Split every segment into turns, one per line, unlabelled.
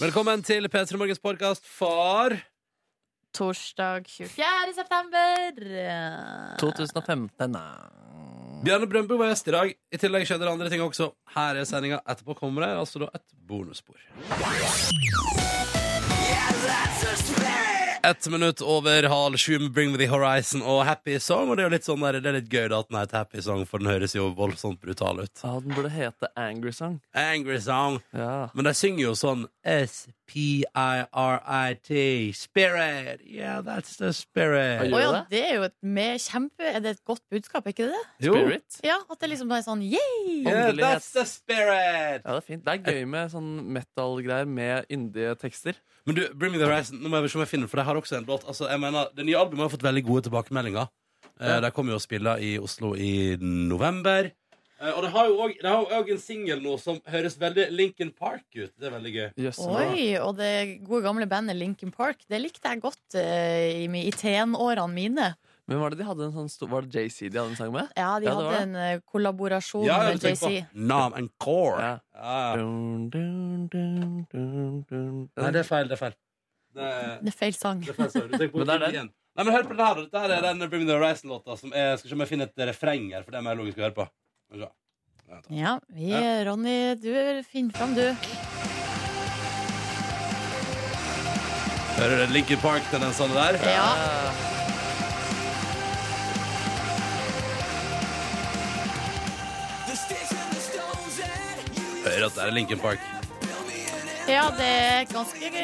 Velkommen til P3 Morgens podkast for
Torsdag 24. september.
2015. Nei.
Bjørne Brøndbo var gjest i dag. I tillegg skjedde det andre ting også. Her er sendinga. Etterpå kommer det altså da et bonusspor. Ett minutt over halv sju med Bring Me The Horizon og Happy Song. Og det er jo litt sånn der, det er litt gøy da at den heter Happy Song, for den høres jo voldsomt brutal ut.
Ja, den burde hete Angry Song.
Angry Song.
Ja.
Men de synger jo sånn S-P-I-R-I-T. Spirit. Yeah, that's the
Oi,
spirit.
oi.
Å
Gjør
ja,
det?
det er jo et med kjempe Er det et godt budskap, er ikke det det?
Jo.
Spirit.
Ja, At det liksom er sånn yeah!
Yeah,
Åndelighet.
that's the spirit.
Ja, det er fint. Det er gøy med sånn metal-greier med yndige tekster.
Men du, Bring Me The Horizon, nå må jeg se om jeg finner den, for de har også en låt. Altså, jeg mener, Det nye albumet har fått veldig gode tilbakemeldinger. Eh, De kommer jo og spiller i Oslo i november. Eh, og de har jo også- de har jo òg en singel nå som høres veldig Lincoln Park ut. Det er veldig gøy.
Jøsse meg.
Oi, og det gode gamle bandet Linkin Park. Det likte jeg godt eh, i, mi- i tenårene mine.
Men var det de hadde en sånn stor Var det JC de hadde en sang med?
Ja, de
Ja, det var
hadde
det.
en eh, kollaborasjon
Ja, jeg
med
tenker
JC.
på Nam and Core.
Ja.
Ja.
Dun, dun, dun, dun, dun.
Nei, det er feil. Det er feil. Det er,
Det er feil sang.
det er feil sorry. Du tenker på
Men det er den.
igjen. Nei, men Hør på den her. da. Dette her er den Bring Me The Horizon-låta. som er- Skal se om jeg finner et refreng her, for det er mer logisk å høre på. Skal vi se. Vent da.
Ja, vi, Ronny, du finner fram, du.
Hører du den Linkin Park-tendensene der?
Ja.
Ja.
Hører at det er Linkin Park.
Ja, det er ganske det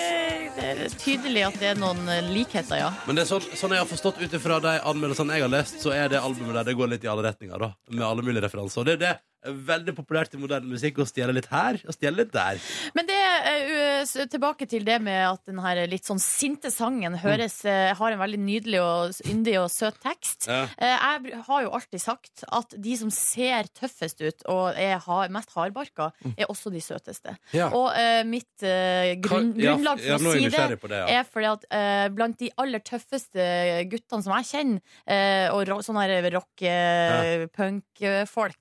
er tydelig at det er noen likheter, ja.
Men det er sånn, sånn jeg har forstått ut ifra de anmeldelsene jeg har lest, så er det albumet der det går litt i alle retninger, da. Med alle mulige referanser. Og det er det. Veldig populært i moderne musikk å stjele litt her og stjele litt der.
Men det, eh, s- tilbake til det med at den her litt sånn sinte sangen høres, eh, har en veldig nydelig og s- yndig og søt tekst.
Mm. Ja.
Eh, Jeg br- har jo alltid sagt at de som ser tøffest ut og er har- mest hardbarka, er også de søteste.
Mm. Ja.
Og eh, mitt eh, grunn,
Ja,
grunnlag for
ja, nå er jeg
å si det
nysgjerrig på det, ja.
er fordi at eh, blant de aller tøffeste guttene som jeg kjenner, eh, og ro sånne her rock, eh, punk eh, folk,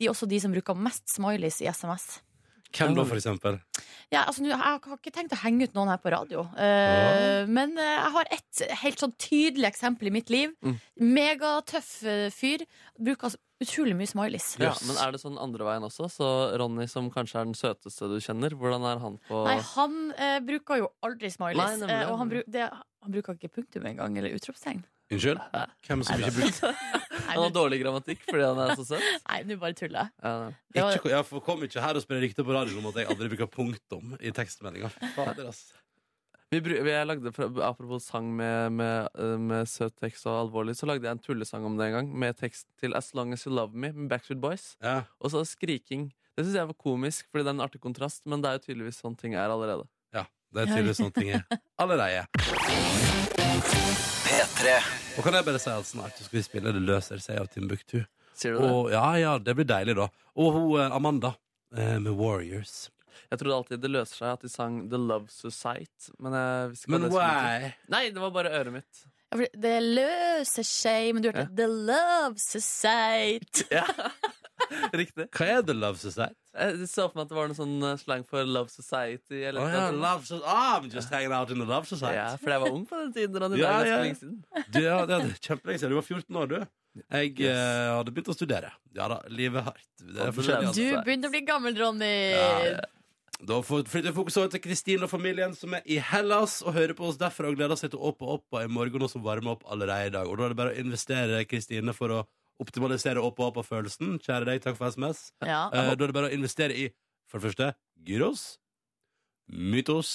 de er også de som bruker mest smileys i SMS.
Hvem da, for eksempel?
Ja, altså, nå- jeg har ikke tenkt å henge ut noen her på radio, eh, men eh, jeg har et helt sånn tydelig eksempel i mitt liv.
Mm.
Megatøff eh, fyr. Bruker altså utrolig mye smileys.
Ja, men er det sånn andre veien også? Så Ronny, som kanskje er den søteste du kjenner, hvordan er han på
Nei, han eh, bruker jo aldri smileys.
Nei, nemlig.
eh, og han, bru det, han bruker ikke punktum engang, eller utropstegn.
Unnskyld? Hvem som ikke brukte
Nei,
Han har
nå-
dårlig grammatikk fordi han er så søt?
Nei, nå bare tuller jeg.
Ja, nei.
Det var-
ikke, Jeg får- kom ikke her og spre rykter på radioen om at jeg aldri bruker punktum i tekstmeldinga. Fader, ass.
Vi, bru- vi- jeg lagde, fra- apropos sang med, med, eh, med søt tekst og alvorlig, så lagde jeg en tullesang om det en gang, med tekst til As Long As You Love Me med Backstreet Boys.
Ja.
Og så skriking. Det syns jeg var komisk, fordi det er en artig kontrast, men det er jo tydeligvis sånn ting er allerede.
Ja, det er tydeligvis sånne ting jeg allerede er. Og kan jeg bare si at snart så skal vi spille Det løser seg av Timbuktu.
Sier du det?
Og, ja, ja, det blir deilig, da. Og hun eh, Amanda eh, med Warriors.
Jeg trodde alltid det løser seg at de sang The Love Society, men jeg visste ikke
Men
hva det skulle bety.
why?
Nei, det var bare øret mitt.
Ja, for Det løser seg, men du hørte
Ja.
The Love Society.
Ja. Riktig.
Hva er The Love Society?
Jeg så for meg at det var noe sånn eh, slang for Love Society. Eller
Oh,
noe
yeah,
sånt.
love so ah, I'm just hanging out in the Love Society.
ja, for jeg var ung på den tiden. Ronny.
Ja,
Det er ganske
ja.
lenge siden.
Du, ja, det er kjempelenge siden. Du var 14 år, du. Jeg
Yes.
eh, hadde begynt å studere. Ja da, livet er hardt. Det
Og
er forskjellig.
blødd.
Du
Altså.
begynner å bli gammel, Ronny.
Da får- flytter jeg fokus over til Kristin og familien som er i Hellas og hører på oss derfra og gleder seg til Åpa Åpa i morgen og som varmer opp allerede i dag. Og da er det bare å investere, Kristine, for å optimalisere Åpa Åpa-følelsen. Kjære deg, takk for SMS.
Ja.
Eh, Da er det bare å investere i for det første gyros, mytos,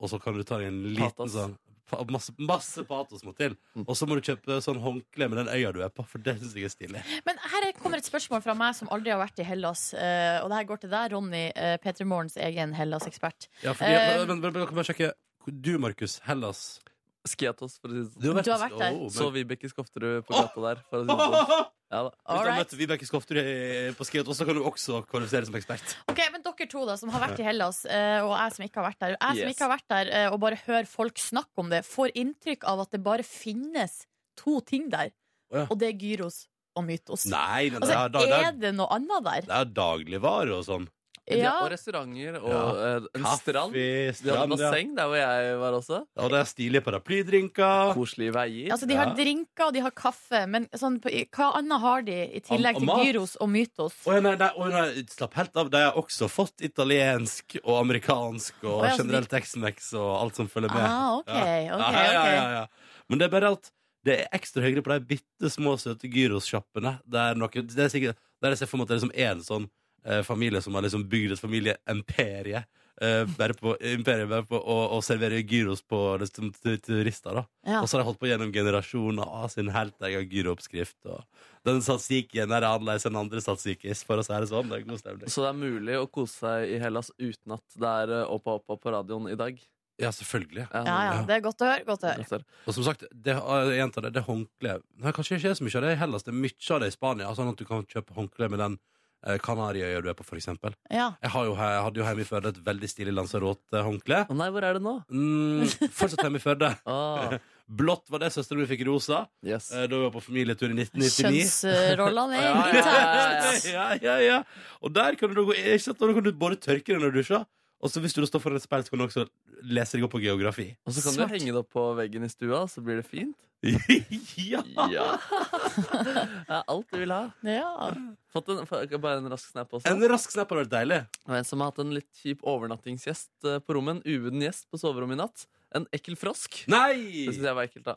og så kan du ta deg en liten
Patos.
sånn pa- Masse, masse patos må til. Og så må du kjøpe sånn håndkle med den øya du er på, for det syns jeg er stilig.
Men her kommer et spørsmål fra meg som aldri har vært i Hellas. eh, Og det her går til deg, Ronny, eh, P3 Morgens egen Hellas-ekspert.
Ja, fordi,
Eh,
men, men, men, kan jeg sjekke Du, Markus, Hellas.
Skiatos, for å si det sånn.
Du har vært der.
Åh, men-
Så Vibeke Skofterud på gata der. For å si det sånn. ja,
Hvis
da.
du har
Alright.
møtt Vibeke Skofterud i- på Skiatos, så kan du også kvalifisere som ekspert.
Ok, Men dere to da, som har vært i Hellas, eh, og jeg som ikke har vært der. Jeg som
Yes.
ikke har vært der, eh, og bare hører folk snakke om det, får inntrykk av at det bare finnes to ting der.
Å ja.
Og det er gyros og mytos.
Nei, men det,
Altså,
er, da- det,
er det noe annet der?
er, det er dagligvare og sånn.
De har-
Ja.
Og restauranter og
Ja.
eh, en
Kaffe,
strand. De hadde
strand, ja.
basseng der hvor jeg var også.
Og det er stilige paraplydrinker.
Koselige veier.
Altså, de har
Ja.
drinker og de har kaffe, men sånn, på- i- hva annet har de i tillegg
Og
til
mat.
gyros og mytos?
Å ja, nei, nei, å, nei, slapp helt av. De har også fått italiensk og amerikansk og
Å, ja, så de-
generelt Tex-Mex og alt som følger med.
Ah, ok,
Ja.
ok,
Ja, ja,
ok.
ja, ja. Men det er bare at det er ekstra høyere på de bitte små, søte gyrossjappene. Der, noe- det er sikkert- der jeg ser for meg at det er liksom en sånn eh, familie som har liksom bygd et familieimperie. eh, bare på, imperiet bare på å, å servere gyros på liksom, tu- turister, da.
Ja.
Og så har de holdt på gjennom generasjoner av sin helt egen gyrooppskrift. Og den satsikken er annerledes enn andre satsikis, for å si det sånn. Det er god stemning.
Så det er mulig å kose seg i Hellas uten at det er eh, oppa oppa på radioen i dag.
Ja, selvfølgelig.
ja, ja, det er godt å høre. Godt å høre.
Godt der.
Og som sagt, det, jeg gjentar det, det håndkleet Nei, kanskje ikke så mye av det i Hellas. Det er mye av det i Spania. Sånn at du kan kjøpe håndkle med den eh, Kanariøya du er på, for eksempel.
Ja.
Jeg, har jo, he- hadde jo hjemme i Førde et veldig stilig Lanzarote-håndkle.
Å nei, hvor er det nå?
Mm, fortsatt hjemme i Førde.
Ah,
Blått var det søsteren min fikk rosa
yes.
eh, da vi var på familietur i 1999.
Kjønnsrollene er
Ja, ja, ja,
intakt.
ja.
ja, ja, ja. Og der kan du, gå- ikke sant, og da kan du både tørke deg når du dusjer, og så hvis du da står foran et speil, så kan du også lese deg opp på geografi.
Og så kan
Smart.
du henge det opp på veggen i stua, så blir det fint.
ja!
Ja! Det er alt du vil ha.
Ja.
Fått en, f- bare en rask snap også.
En rask snap hadde vært deilig.
Det var en som har hatt en litt kjip overnattingsgjest eh, på rommet. En uvuden gjest på soverommet i natt. En ekkel frosk.
Nei!
Det syns jeg var ekkelt, da.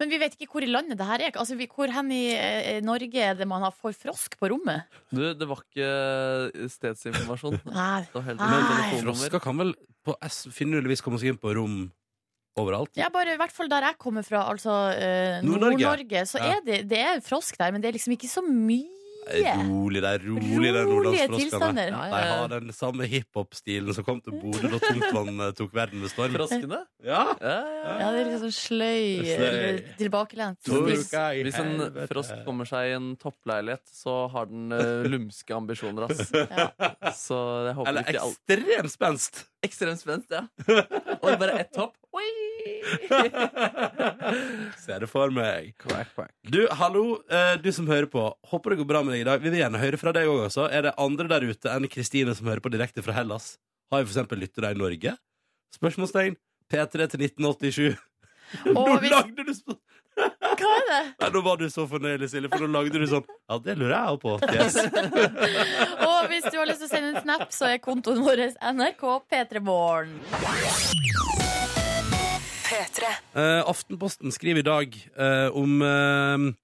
Men vi vet ikke hvor i landet det her er. Altså, vi, hvor hen i eh, Norge er det man har får frosk på rommet?
Du, det var ikke eh, stedsinformasjon. Det
Nei.
var helt
Nei.
telefonnummer.
Frosker kan vel på S finurligvis komme seg inn på rom overalt?
Ja, bare i hvert fall der jeg kommer fra, altså eh,
Nord-Norge.
Nord-Norge, så
Ja.
er det, det er frosk der, men det er liksom ikke så
Nei,
mye.
Eh, Rolig, det er rolig, de
Rolige
nordlandsfroskene.
tilstander.
Ja,
De
ja, ja.
har den samme hiphop-stilen som kom til Bodø da Tungtvann eh, tok verden med storm.
Froskene?
Ja!
Ja, ja, ja.
Ja, det er liksom sløy,
Sløy.
eller tilbakelent.
Hvis,
Hvis en frosk kommer seg i en toppleilighet, så har den eh, lumske ambisjoner, ass. Så jeg håper
Eller
ikke alt
ekstremt spenst!
Ekstremt spent, ja. Oi, bare ett hopp. Oi!
Ser det for meg. Du, hallo, eh, du som hører på. Håper det går bra med deg i dag. Vi vil gjerne høre fra deg òg, altså. Er det andre der ute enn Kristine som hører på direkte fra Hellas? Har vi f.eks. lyttere i Norge? Spørsmålstegn. P3 til 1987. Nå
Og hvis,
lagde du så...
hva er det?
Nei, nå var du så fornøyelig, Silje, for nå lagde du sånn Ja, det lurer jeg òg på. Yes.
Og hvis du har lyst til å sende en snap, så er kontoen vår NRK P3morgen.
Eh, Aftenposten skriver i dag eh, om eh,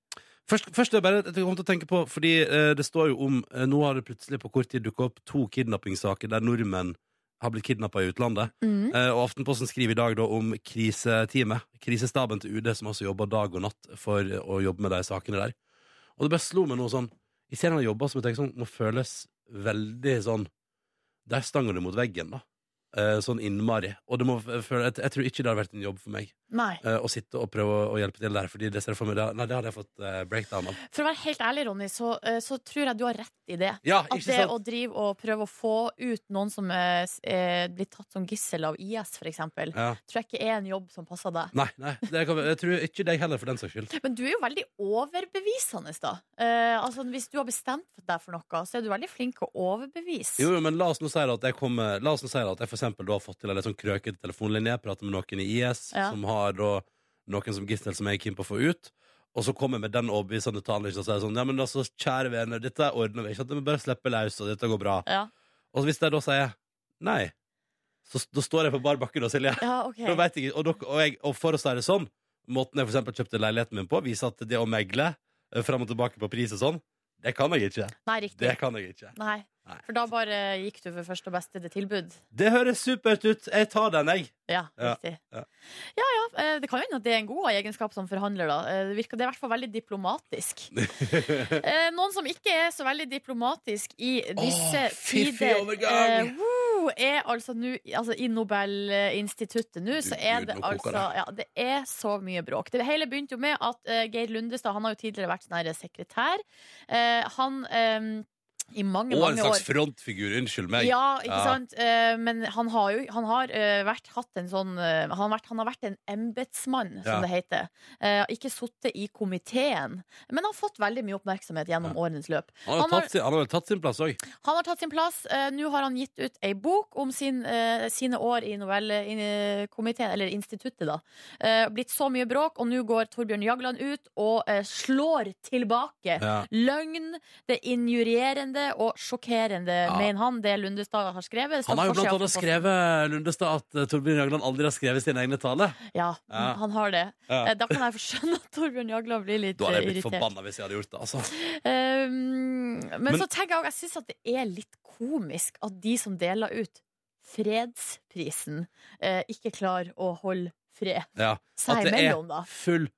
Først, først er det bare, jeg kom til å tenke på, fordi eh, det står jo om eh, Nå har det plutselig på kort tid dukket opp to kidnappingssaker der nordmenn har blitt kidnappa i utlandet.
Mm.
Eh, og Aftenposten skriver i dag da om kriseteamet, krisestaben til UD, som altså jobber dag og natt for eh, å jobbe med de sakene der. Og det bare slo meg noe sånn I serien av jobber som jeg tenker sånn, må føles veldig sånn Der stanger du mot veggen, da. Eh, sånn innmari. Og det må føle, jeg, jeg tror ikke det hadde vært en jobb for meg
Nei.
eh, å sitte og prøve å- å hjelpe til der, fordi det ser jeg for meg det, Nei, det hadde jeg fått eh, breakdown av.
For å være helt ærlig, Ronny, så, eh, så tror jeg du har rett i det.
Ja,
At
ikke
det
sant?
å drive og prøve å få ut noen som eh, s- eh, blir tatt som gissel av IS, for eksempel,
Ja.
tror jeg ikke er en jobb som passer deg.
Nei, nei det kan, jeg tror ikke deg heller, for den saks skyld.
Men du er jo veldig overbevisende, da. Eh, altså, hvis du har bestemt deg for noe, så er du veldig flink å overbevise.
Jo, jo, men la oss nå si da at jeg kommer La oss nå si da at jeg for eksempel da har fått til en litt sånn krøkete telefonlinje, prater med noen i IS,
Ja.
som har da noen som gissel som jeg er keen på å få ut. Og så kommer jeg med den overbevisende talen ikke, og sier sånn Ja, men altså, kjære venner, dette ordner vi. Ikke sant? Du må bare slippe løs, og dette går bra.
Ja.
Og hvis jeg da sier nei, så da står jeg på bar bakke da, Silje.
ja, ok.
Da vet jeg, ikke- og, dere, og, jeg, og for å si det sånn, måten jeg for eksempel kjøpte leiligheten min på, viser at det å megle eh, frem og tilbake på pris og sånn, det kan jeg ikke.
Nei, riktig.
Det kan jeg ikke.
Nei.
Nei.
For da bare gikk du for første og beste det tilbud.
Det høres supert ut. Jeg tar den, jeg.
Ja,
Ja,
riktig.
ja.
Ja, ja. eh, Det kan jo hende at det er en god egenskap som forhandler, da. Eh, Det, virker, det er i hvert fall veldig diplomatisk. Eh, Noen som ikke er så veldig diplomatisk i disse
Åh, fiffig
tider
overgang!
eh, woo, er altså nå altså I Nobelinstituttet nå,
Du
så er
Gud,
det
nå koker
altså ja, Det er så mye bråk. Det hele begynte jo med at eh, Geir Lundestad, han har jo tidligere vært sånn her sekretær. Eh, Han eh, I mange,
Og en
mange
slags
år.
frontfigur. Unnskyld meg.
Ja, ikke
Ja.
sant? Eh, Men han har jo han har eh, vært hatt en sånn eh, Han har vært, han har vært en embetsmann,
Ja.
som det heter. Eh, Ikke sittet i komiteen, men han har fått veldig mye oppmerksomhet gjennom årenes løp.
Han har
han
jo
har-
tatt, sin- han har jo tatt sin plass òg.
Han har tatt sin plass. Eh, Nå har han gitt ut ei bok om sin, eh, sine år i novellekomiteen, eller instituttet, da. Eh, blitt så mye bråk, og nå går Torbjørn Jagland ut og eh, slår tilbake.
Ja.
Løgn, det er injurierende og sjokkerende,
Ja.
mener han, det Lundestad har skrevet. Det står
Han har jo
på
blant
forsiden
annet
av
skrevet Lundestad at eh, Torbjørn Jagland aldri har skrevet sine egne taler.
Aftenposten. Ja,
Ja.
han har det.
Ja.
Eh, Da kan jeg skjønne at Torbjørn Jagland blir litt
Da hadde
eh,
jeg blitt
irritert.
forbanna hvis jeg hadde gjort det. Altså.
Eh, men,
Men-
så tenker jeg òg, jeg syns at det er litt komisk at de som deler ut fredsprisen, eh, ikke klarer å holde fred
Ja. At
seg
det er
imellom, da.
full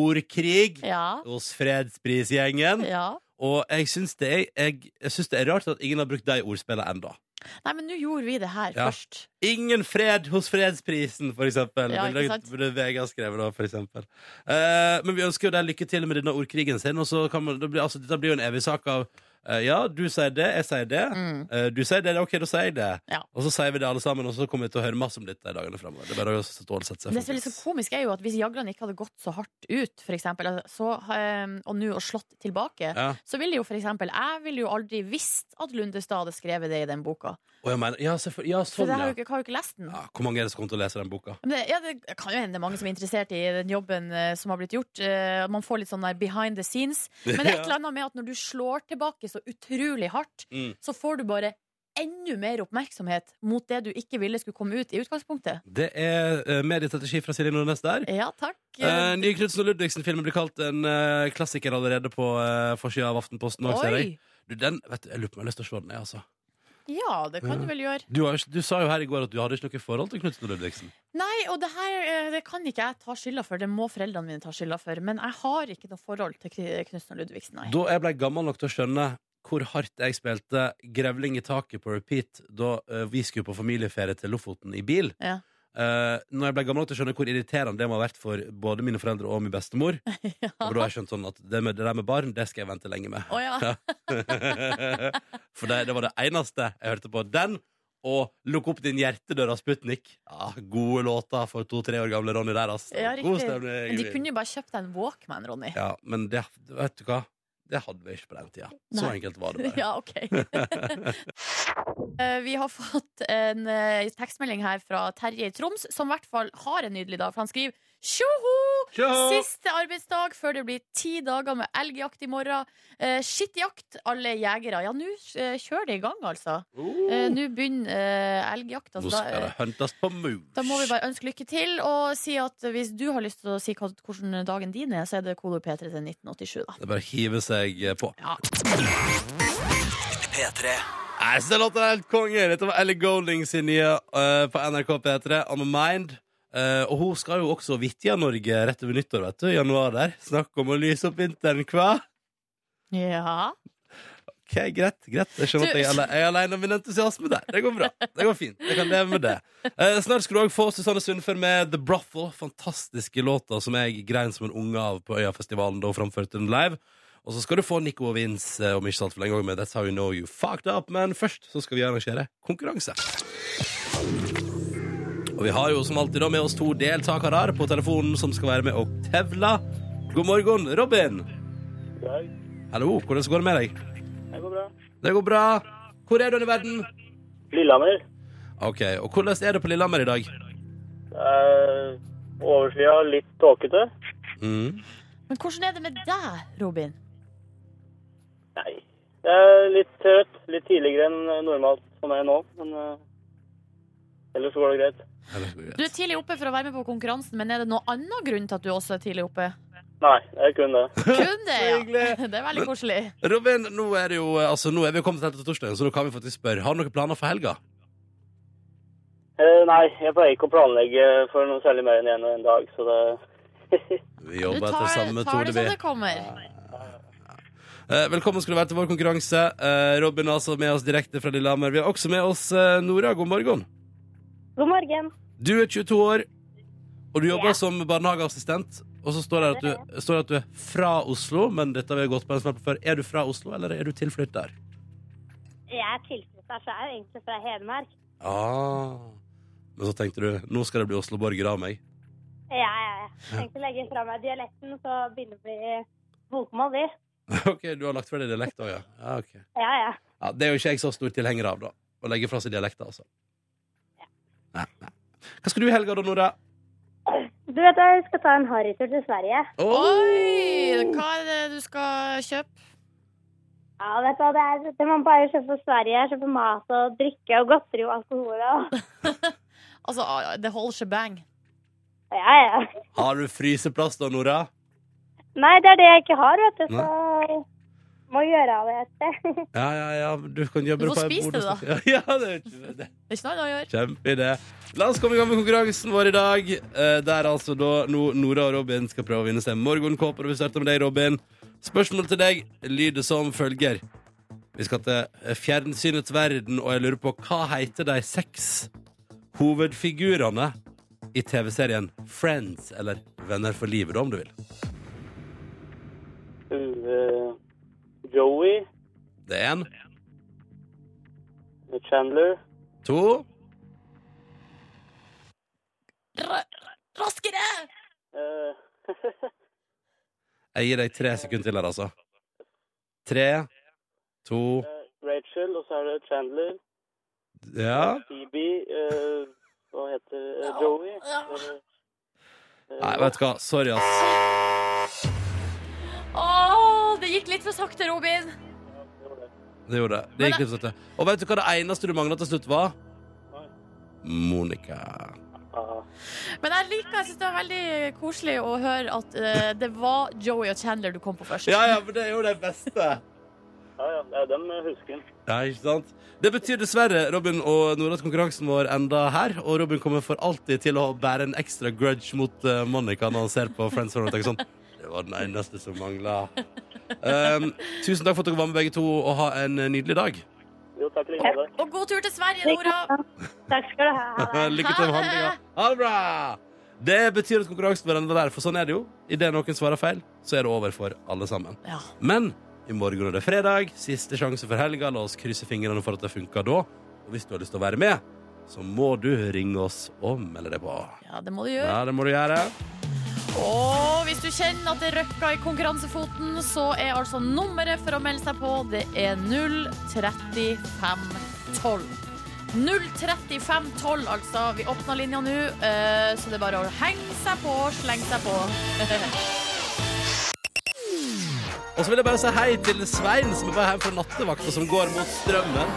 ordkrig
Ja.
hos fredsprisgjengen.
ja.
Og jeg syns det, er- jeg, jeg syns det er rart at ingen har brukt de ordspillene enda
Nei, men nå gjorde vi det her
Ja.
først.
Ingen fred hos fredsprisen, for eksempel.
Ja, ikke
Ville-
sant?
Burde VG ha skrevet da, for eksempel. Eh, men vi ønsker jo deg lykke til med denne ordkrigen sin. Og så kan man, det blir, altså, dette blir jo en evig sak av eh, Ja, du sier det, jeg sier det.
Mm.
Eh, du sier det, OK, da sier jeg det.
Ja.
Og så sier vi det alle sammen, og så kommer vi til å høre masse om dette i dagene framover. Det er bare å stålsette seg.
Det som er litt så komisk, er jo at hvis Jagland ikke hadde gått så hardt ut, for eksempel, altså, så, eh, og nå og slått tilbake,
Ja.
så ville jo for eksempel Jeg ville jo aldri visst at Lundestad hadde skrevet det i den boka.
Og jeg mener, ja, selvfø- ja,
For
sånn,
jeg har
ja.
jo ikke, har jo ikke lest den.
ja. Hvor mange er det som kommer til å lese den boka?
Men det, ja, det kan jo hende det er mange som er interessert i den jobben eh, som har blitt gjort. Eh, man får litt sånn der behind the scenes. Men det er et eller annet med at når du slår tilbake så utrolig hardt,
Mm.
så får du bare enda mer oppmerksomhet mot det du ikke ville skulle komme ut i utgangspunktet.
Det er eh, mediestrategi fra Silje Nordnes der.
Ja, takk.
Eh, nye Knudsen og Ludvigsen-filmen blir kalt en eh, klassiker allerede på uh, forsida av Aftenposten. Også, ser jeg.
Oi!
Du, den, vet du, jeg lurer på om jeg har lyst til å se den. Jeg, altså.
Ja, det
Mm.
kan du vel gjøre.
du, har, jo ikke- du sa jo her i går at du hadde ikke noe forhold til Knudsen og Ludvigsen.
Nei, og det her eh, det kan ikke jeg ta skylda for. Det må foreldrene mine ta skylda for. Men jeg har ikke noe forhold til Kri- Knutsen og Ludvigsen, nei.
Da jeg ble gammel nok til å skjønne hvor hardt jeg spilte grevling i taket på repeat da eh, vi skulle på familieferie til Lofoten i bil.
Ja.
Eh, når jeg ble gammel nok til å skjønne hvor irriterende det må ha vært for både mine foreldre og min bestemor. Og da har jeg skjønt sånn at det, med, det der med barn, det skal jeg vente lenge med.
Å ja.
For det, det var det eneste jeg hørte på. Den og 'Lukk opp din hjertedør' av Sputnik. Ja, gode låter for to-tre år gamle Ronny der, altså.
Ja, riktig.
God stemning.
Men de kunne jo bare kjøpt deg en Walkman, Ronny.
Ja, men det, vet du hva? Det hadde vi ikke på den tida. Så
Nei.
enkelt var det bare.
Ja, ok. Eh, Vi har fått en eh, tekstmelding her fra Terje i Troms, som i hvert fall har en nydelig dag, for han skriver Tjoho!
Tja!
Siste arbeidsdag før det blir ti dager med elgjakt i morgen. Eh, Skittjakt, alle jegere. Ja, nå eh, kjører det i gang, altså. Eh, Nå begynner eh, elgjakta.
Oh.
så
Nå
da,
skal det
eh,
huntes på mus.
da må vi bare ønske lykke til, og si at hvis du har lyst til å si hva- hvordan dagen din er, så er det kodord P3 til 1987, da.
Det er bare å hive seg eh, på.
Ja.
Nei, Jeg synes den låten er helt konge. Dette var Ellie Golding sin nye eh, på NRK P3, I'm a Mind. Eh, og hun skal jo også vitja Norge rett over nyttår, vet du. i Januar der. Snakk om å lyse opp vinteren, hva?
ja.
Ok, greit. greit Jeg skjønner at jeg er ale- jeg er alene om min entusiasme der. Det går bra. Det går fint. Jeg kan leve med det. Eh, snart skal du òg få Susanne Sundfør med The Brothel. Fantastiske låter som jeg grein som en unge av på Øyafestivalen da hun framførte den live. Og så skal du få Nico og Vince eh, om ikke så altfor lenge òg med That's How You Know You Fucked Up. Men først så skal vi arrangere konkurranse. Og vi har jo som alltid da med oss to deltakere her på telefonen som skal være med og tevle. God morgen, Robin.
Hei,
Hallo, hvordan går det med deg?
det går bra.
Det går bra. Hvor er du i verden?
Lillehammer.
Ok, og hvordan er det på Lillehammer i dag?
Eh, Overskya, litt tåkete.
Mm.
Men hvordan er det med deg, Robin?
Nei. Det er litt trøtt. Litt tidligere enn normalt som er nå, men eh, ellers går det greit.
Du er tidlig oppe for å være med på konkurransen, men er det noen annen grunn til at du også er tidlig oppe?
Nei, det er kun det.
Kun det, ja.
hyggelig.
Det er veldig koselig.
Robin, nå er det jo Altså, nå er vi jo kommet helt til torsdagen, så nå kan vi faktisk spørre. Har du noen planer for helga?
Eh, nei, jeg pleier ikke å planlegge for noe særlig mer enn en, en dag, så det
Vi
Du
jobber
tar,
etter samme
tar
metode,
det som det
vi.
kommer.
Eh, velkommen skal du være til vår konkurranse. Eh, Robin er altså med oss direkte fra Lillehammer. Vi har også med oss eh, Nora. God morgen.
God morgen.
Du er 22 år, og du jobber som barnehageassistent. Og så står det at du, står det at du er fra Oslo, men dette har vi gått på en snart før. Er du fra Oslo, eller er du tilflytter?
Jeg er tilflytta sjøl, egentlig fra Hedmark.
Ah. Men så tenkte du nå skal det bli Oslo-borger av meg.
Ja, ja, ja. Tenkte å legge fra meg dialekten, så begynner det å bli bokmål, vi.
ok, Du har lagt fra deg dialekt òg, ja. Ja, ok.
Ja, ja.
ja. Det er jo ikke jeg så stor tilhenger av, da. Å legge fra seg dialekter, altså. Nei, nei. Hva skal du i helga, da, Nora?
Du vet, jeg skal ta en harrytur til Sverige.
Oh!
Oi! Hva er det du skal kjøpe?
Ja, vet du hva det er? Det man bare kjøper på Sverige. Kjøper mat og drikke og godteri og alkohol og
Altså, ah, det holder shebang.
Ja, ja.
Har du fryseplass da, Nora?
Nei, det er det jeg ikke har, vet du, så må gjøre av det et sted.
Ja, ja, ja. Du kan jobbe
Du får
på en
spise det,
bord-
da.
Ja, ja, det er ikke det.
Det er ikke noe annet å gjøre.
Kjempeidé. La oss komme i gang med konkurransen vår i dag. eh, Der altså da no- Nora og Robin skal prøve å vinne seg morgenkåper. Og vi starter med deg, Robin. Spørsmålet til deg lyder som følger. Vi skal til eh, fjernsynets verden, og jeg lurer på hva heter de seks hovedfigurene i TV-serien Friends, eller Venner for livet, da, om du vil.
Uh, Joey,
Det er én,
eh, Chandler,
to,
Ra- Raskere!
uh,
Jeg gir deg tre sekunder til her, altså. Tre, to
Rachel, og så er det Chandler,
Ja.
Phoebe, eh, hva heter eh, Joey? eh,
Nei, vet du hva. Sorry, ass.
Åh, det gikk litt for sakte, Robin.
Det gjorde det. det,
Men
gikk
det-
litt for sakte. Og vet du hva det eneste du mangla til slutt, var?
Nei.
Monica.
ah,
Men jeg liker, jeg synes det er veldig koselig å høre at eh, det var Joey og Chandler du kom på først.
Ja, ja, men det er jo det beste.
ja, ja, det er dem jeg husker.
Ja, ikke sant? Det betyr dessverre, Robin og Nora, at konkurransen vår enda her. Og Robin kommer for alltid til å bære en ekstra grudge mot eh, Monica når han ser på Friends Forum og tenker sånn Det var den eneste som mangla. Um, tusen takk for at dere var med, begge to, og ha en eh, nydelig dag.
Jo, takk like det.
Og god tur til Sverige, Nora.
Takk skal du ha. Ha det.
Lykke til med
Ha det.
handlinga. Ha det bra! Det betyr at konkurransen vår ender der, for sånn er det jo. Idet noen svarer feil, så er det over for alle sammen.
Ja.
Men i morgen er det fredag, siste sjanse for helga. La oss krysse fingrene for at det funker da. Og hvis du har lyst til å være med, så må du ringe oss og melde deg på.
ja, det må du gjøre.
Ja, det må du gjøre.
Og hvis du kjenner at det røkker i konkurransefoten, så er altså nummeret for å melde seg på, det er 03512. 03512, altså. Vi åpner linja nå, eh, så det er bare å henge seg på, slenge seg på.
Og så vil jeg bare si hei til Svein, som er på hjem fra nattevakt, og som går mot strømmen.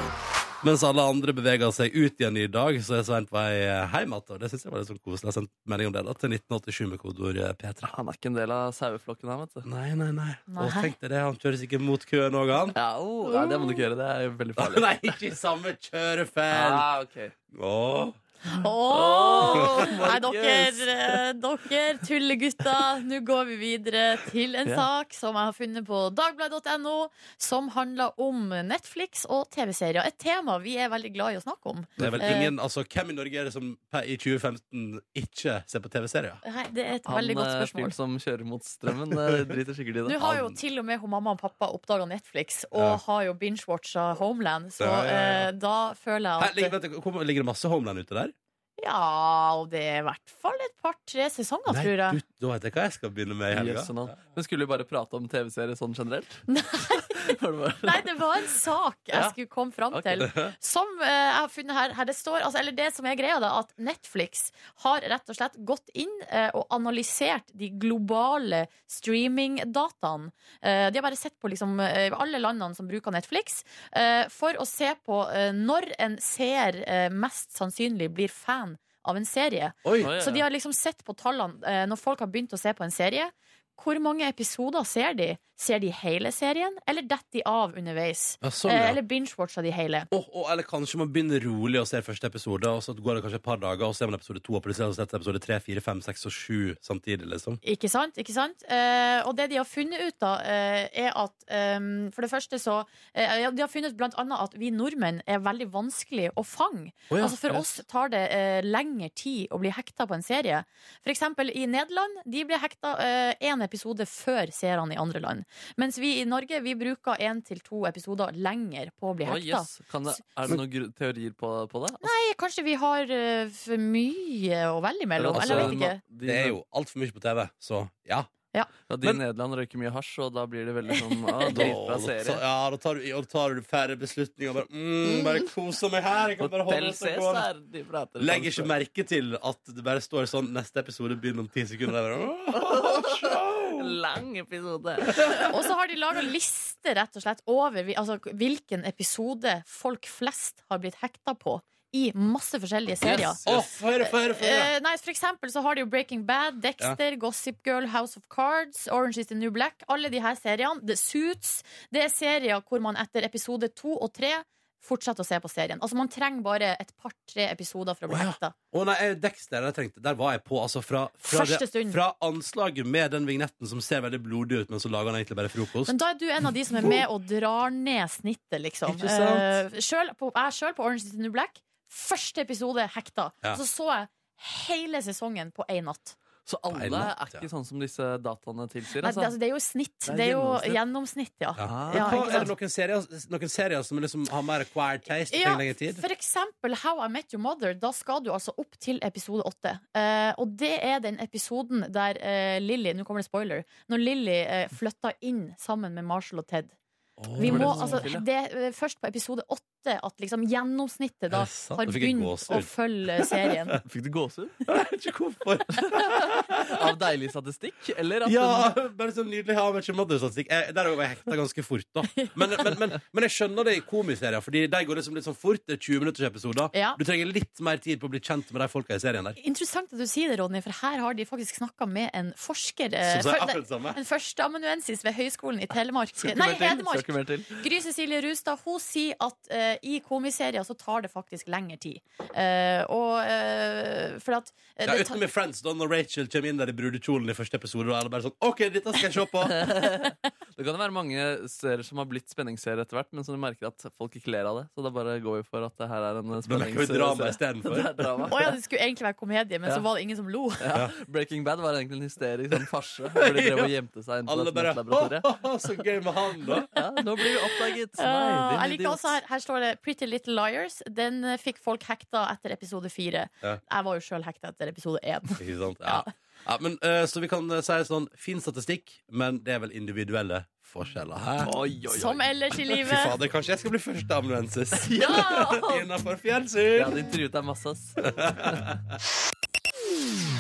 Mens alle andre beveger seg ut igjen i dag, så er Svein på vei hjem igjen. Og det syns jeg var litt sånn koselig. Jeg har sendt melding om det da, til 1987 med kodeord eh, Petra.
Han er ikke en del av saueflokken her, vet du.
Nei, nei, nei.
Nei.
Og tenk deg det, han kjører sikkert mot køen òg, han.
Ja, oh, nei, det må du ikke gjøre. Det er jo veldig farlig.
Nei, ikke i samme kjørefelt.
Ah, ok.
Åh.
Åh!
Åh,
Nei,
Markus.
dere, eh, dere tullegutter. Nå går vi videre til en
Ja.
sak som jeg har funnet på dagbladet.no, som handler om Netflix og TV-serier. Et tema vi er veldig glad i å snakke om.
Det er vel
Eh,
ingen, altså Hvem i Norge er det som pe- i 2015 ikke ser på TV-serier?
Nei, det er et
Han
veldig godt
eh, fyren
spørsmål.
som kjører mot strømmen, eh, driter sikkert i
Nå
det.
har jo til og med hun mamma og pappa oppdaga Netflix, og
Ja.
har jo binge-watcha Homeland, så
Ja, ja, ja.
eh, da føler
Her,
jeg
ligger,
at
vent, hvor- ligger det masse Homeland ute der?
Ja, og det er i hvert fall et par-tre sesonger, tror jeg.
du, da vet jeg hva jeg skal begynne med i helga.
Jøss, sånn han- Hun skulle jo bare prate om TV-serier sånn generelt. Var det bare-
Nei, det var en sak jeg
Ja.
skulle komme fram
Ok.
til. Som eh, jeg har funnet her, her det står altså, Eller det som er greia, da, at Netflix har rett og slett gått inn eh, og analysert de globale streamingdataene. Eh, de har bare sett på liksom, eh, alle landene som bruker Netflix, eh, for å se på eh, når en seer eh, mest sannsynlig blir fan av en serie.
Oi,
Å, ja,
Så de
ja.
har liksom sett på tallene eh, når folk har begynt å se på en serie. Hvor mange episoder ser de? Ser de hele serien, eller detter de av underveis?
ja, sånn,
Eh,
ja.
Eller binge-watcher de hele?
Åh, åh, eller kanskje man begynner rolig og ser første episode, og så går det kanskje et par dager, og så ser man episode to, og plutselig har man sett episode tre, fire, fem, seks og sju samtidig, liksom.
Ikke sant? ikke sant? Eh, og det de har funnet ut, da, eh, er at eh, For det første så eh, ja, De har funnet ut blant annet at vi nordmenn er veldig vanskelig å fange.
Å, ja.
Altså For oss tar det eh, lengre tid å bli hekta på eh, en serie. For eksempel i Nederland de ble hekta én episode før seerne i andre land. Mens vi i Norge vi bruker én til to episoder lenger på å bli
Å,
hekta.
yes. kan det, er det noen gru- teorier på, på det? Altså,
Nei, kanskje vi har eh, for mye å velge mellom?
altså,
Eller jeg vet ikke.
na- de,
Det er jo altfor mye på TV, så ja.
ja, de i Nederland røyker mye hasj, og da blir det veldig sånn ah,
Da,
dritbra
ta-
serie.
ja, da tar du, og tar du færre beslutninger. Bare, mm, bare koser meg her. Jeg kan bare
Hotell
holde det gående.
Cæsar! De prater
Legger
sånn.
ikke merke til at det bare står sånn Neste episode begynner om ti sekunder. Jeg bare, «Åh, show!»
Lang episode!
Og så har de laga liste rett og slett over vi- altså, hvilken episode folk flest har blitt hekta på i masse forskjellige serier.
Yes,
Åh,
yes.
få høre, få høre, få høre!
Eh, nei, for eksempel så har de jo Breaking Bad, Dexter, Gossip Girl, House of Cards, Orange is the New Black. Alle de her seriene. The Suits. Det er serier hvor man etter episode to og tre fortsetter å se på serien. Altså Man trenger bare et par-tre episoder for å bli
Å ja.
hekta.
Å nei, jeg- Dexter, jeg trengte, der var jeg på. Altså fra, fra,
Første stund.
fra anslaget med den vignetten som ser veldig blodig ut, men så lager han egentlig bare frokost.
Men da er du en av de som er med og drar ned snittet, liksom.
Ikke sant?
Eh, selv på, jeg sjøl på Orange is the New Black, første episode hekta.
Ja.
Så så jeg hele sesongen på én natt.
Så alle
Beinatt,
er
ja.
ikke sånn som disse dataene tilsier?
Nei, det,
Altså.
altså, det er jo snitt. Det
er
er, jo gjennomsnitt, ja.
Ja.
Ah.
Men
Ja,
hva,
ikke
er
sant?
det noen serier, noen serier som liksom har mer acquired taste?
Ja,
Ja, lengre tid?
For eksempel How I Met Your Mother. Da skal du altså opp til episode åtte. Eh, og det er den episoden der eh, Lilly Nå kommer det spoiler. Når Lilly eh, flytta inn sammen med Marshall og Ted.
Åh,
Vi
det
må,
det som
altså,
skulle til,
det er først på episode åtte at liksom gjennomsnittet da
Er det sant?
har
Nå fikk jeg
begynt
gåsehud.
å følge serien.
Fikk du gåsehud?
Jeg vet ikke hvorfor.
Av deilig statistikk? Eller at
Ja, bare sånn nydelig How I Met Your Mother-statistikk. Eh, Der var jeg hekta ganske fort, da. Men, men, men, men jeg skjønner det i komiserier, Fordi de går liksom litt sånn fort. Det er 20 minutters episoder.
Ja.
Du trenger litt mer tid på å bli kjent med de folka i serien der.
Interessant at du sier det, Ronny, for her har de faktisk snakka med en forsker. eh,
Som sier
fø-
akkurat det samme.
en førsteamanuensis ved Høgskolen i Telemark.
Skal ikke
Nei,
mer til,
Hedmark.
Skal ikke mer til.
Gry Cecilie Rustad hun sier at eh, i komiserier så tar det faktisk lengre tid. Eh, og eh, for at eh,
Ja,
det
Utenom i Friends, da når Rachel kommer inn der i brudekjolen i første episode. Og alle bare sånn OK, dette skal jeg se på.
Det kan jo være mange serier som har blitt spenningsserier etter hvert, men som du merker at folk ikke ler av det. Så da bare går vi for at det her er en
Men det er jo drama
spenningsserie.
istedenfor.
Det er drama.
Å ja, det skulle egentlig være komedie, men
Ja.
så var det ingen som lo.
Ja. Breaking Bad var egentlig en hysterisk sånn farse. Hvor de drev og gjemte seg inne på
Alle
et
bare
nettlaboratorium.
«Haha, Så gøy med han, da.
Ja, nå blir vi oppdaget! Nei,
Ah,
din
jeg liker
idiot.
også her, her står det 'Pretty Little Liars'. Den eh, fikk folk hekta etter episode fire.
Ja.
Jeg var jo sjøl hekta etter episode én.
Ikke sant? Ja. Ja, men, eh, så vi kan eh, si sånn fin statistikk, men det er vel individuelle forskjeller. Hæ?
Oi, oi, oi.
Som ellers i
Fy
livet.
fader, kanskje jeg skal bli førsteamanuensis innenfor
Jeg
fjernsyn.
hadde intervjuet deg masse, ass.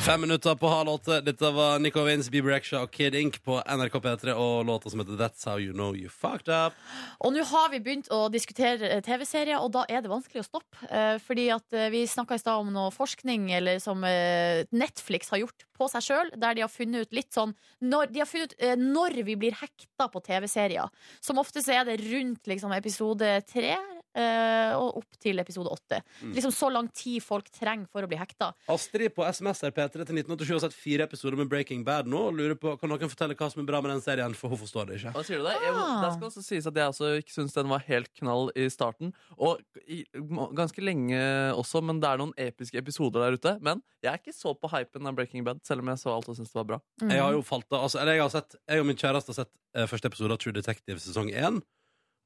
Fem minutter på halv åtte. Dette var Nico Vince, Bieber Extra og Kid Ink på NRK P3 og låta som heter That's How You Know You Fucked Up.
Og nå har vi begynt å diskutere eh, TV-serier, og da er det vanskelig å stoppe. Eh, Fordi at eh, vi snakka i stad om noe forskning eller som eh, Netflix har gjort på seg sjøl, der de har funnet ut litt sånn når, De har funnet ut eh, når vi blir hekta på TV-serier. Som ofte så er det rundt liksom, episode tre eh, og opp til episode åtte.
Mm.
Liksom så lang tid folk trenger for å bli hekta.
Astrid på SMS er P3 til 1987 har sett fire episoder med Breaking Bad nå og lurer på kan noen fortelle hva som er bra med den serien, for hun forstår det ikke.
Hva sier du der? Jeg,
Ah.
det skal også sies at jeg også ikke syns den var helt knall i starten. Og i, må- ganske lenge også, men det er noen episke episoder der ute. Men jeg er ikke så på hypen av Breaking Bad, selv om jeg så alt og syntes det var bra.
Mm.
Jeg har jo falt av altså, Eller jeg har sett Jeg og min kjæreste har sett eh, første episode av True Detective sesong 1.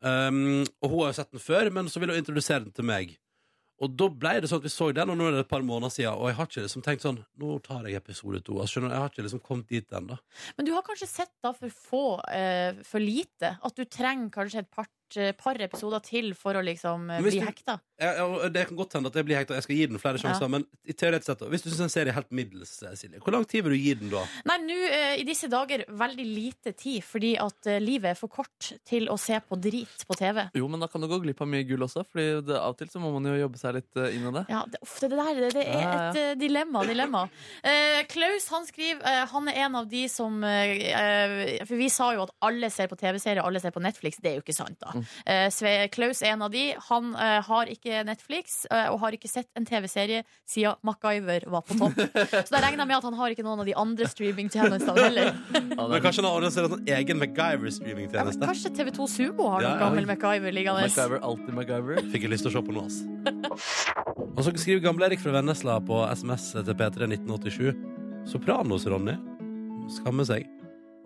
Um, og hun har jo sett den før, men så ville hun introdusere den til meg. Og da ble det sånn at vi så den, og nå er det et par måneder siden, og jeg har ikke liksom tenkt sånn Nå tar jeg episode to. Altså, skjønner du, jeg har ikke liksom kommet dit ennå.
Men du har kanskje sett da for få, eh, for lite? At du trenger kanskje et par, par episoder til for å liksom eh,
Men hvis
bli
du-
hekta?
Jeg- jeg- og Det kan godt hende at jeg blir hekta, jeg skal gi den flere sjanser,
Ja.
men i teoretisk sett, da, hvis du syns en serie er helt middels, eh, Silje, hvor lang tid vil du gi den da?
Nei, nå eh, i disse dager veldig lite tid, fordi at eh, livet er for kort til å se på drit på TV.
Jo, men da kan du gå glipp av mye gull også, Fordi det, av og til så må man jo jobbe seg litt eh, inn i det.
Ja, det, uff, det, det der det, det er
Ja, ja.
et eh, dilemma. dilemma. Eh, Klaus han skriver eh, Han er en av de som eh, eh, For vi sa jo at alle ser på TV-serier, alle ser på Netflix. Det er jo ikke sant, da.
Mm.
Eh, Sve, Klaus er en av de. Han eh, har ikke Netflix eh, og har ikke sett en TV-serie siden MacGyver var på topp. Så da regner jeg med at han har ikke noen av de andre streamingtjenestene heller.
Ja,
Men
det er-
kanskje han har organisert en sånn egen
Ja, men
MacGyver-streamingtjeneste?
kanskje TV2 Sumo har
Ja,
noen
ja.
gammel MacGyver liggende.
MacGyver, alltid MacGyver.
Fikk jeg lyst til å se på nå, ass. Og så skriver Gamle-Erik fra Vennesla på SMS til P3 1987 Sopranos, Ronny. Skammer seg.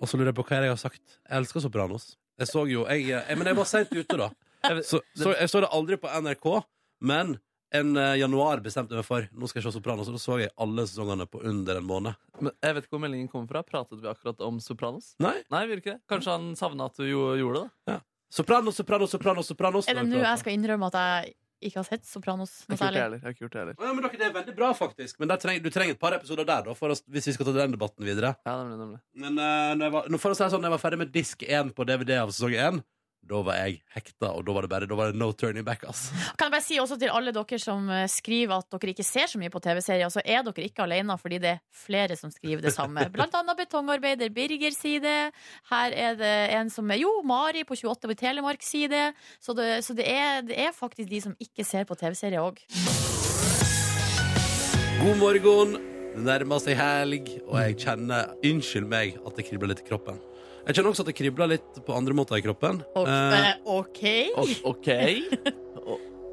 Og så lurer jeg på hva er det jeg har sagt. Jeg elsker Sopranos. Jeg så jo jeg, eh, jeg, Men jeg var seint ute, da.
Jeg vet-
Så, så jeg så det aldri på NRK, men en eh, januar bestemte jeg meg for nå skal jeg se Sopranos, og da så jeg alle sesongene på under en måned.
Men jeg vet ikke hvor meldingen kommer fra. Pratet vi akkurat om Sopranos?
Nei.
Nei, vi gjorde ikke det. Kanskje han savna at du jo, gjorde det?
Sopranos, Sopranos, Sopranos, Sopranos.
Er det nå jeg skal innrømme at jeg ikke har sett Sopranos
Jeg
noe
har ikke gjort det
særlig?
heller. Jeg har ikke gjort det heller.
Å, ja, men dere, Det er veldig bra, faktisk. Men der treng, du trenger et par episoder der, da, for å, hvis vi skal ta den debatten videre.
Ja, nemlig, nemlig.
Men eh, når jeg var, når- for å si det sånn, når jeg var ferdig med disk 1 på DVD av sesong 1, da var jeg hekta, og da var det bare da var det no turning back. ass.
Kan jeg bare si også til alle dere som eh, skriver at dere ikke ser så mye på TV-serier, så er dere ikke alene, fordi det er flere som skriver det samme. Blant annet betongarbeider Birger sier det. Her er det en som er Jo, Mari på 28 på Telemark sier det. Så det, så det, er, det er faktisk de som ikke ser på TV-serier òg.
God morgen. Det nærmer seg helg, og jeg kjenner Unnskyld meg at det kribler litt i kroppen. Jeg kjenner også at det kribler litt på andre måter i kroppen.
Og-
Eh,
eh, OK?
O- OK?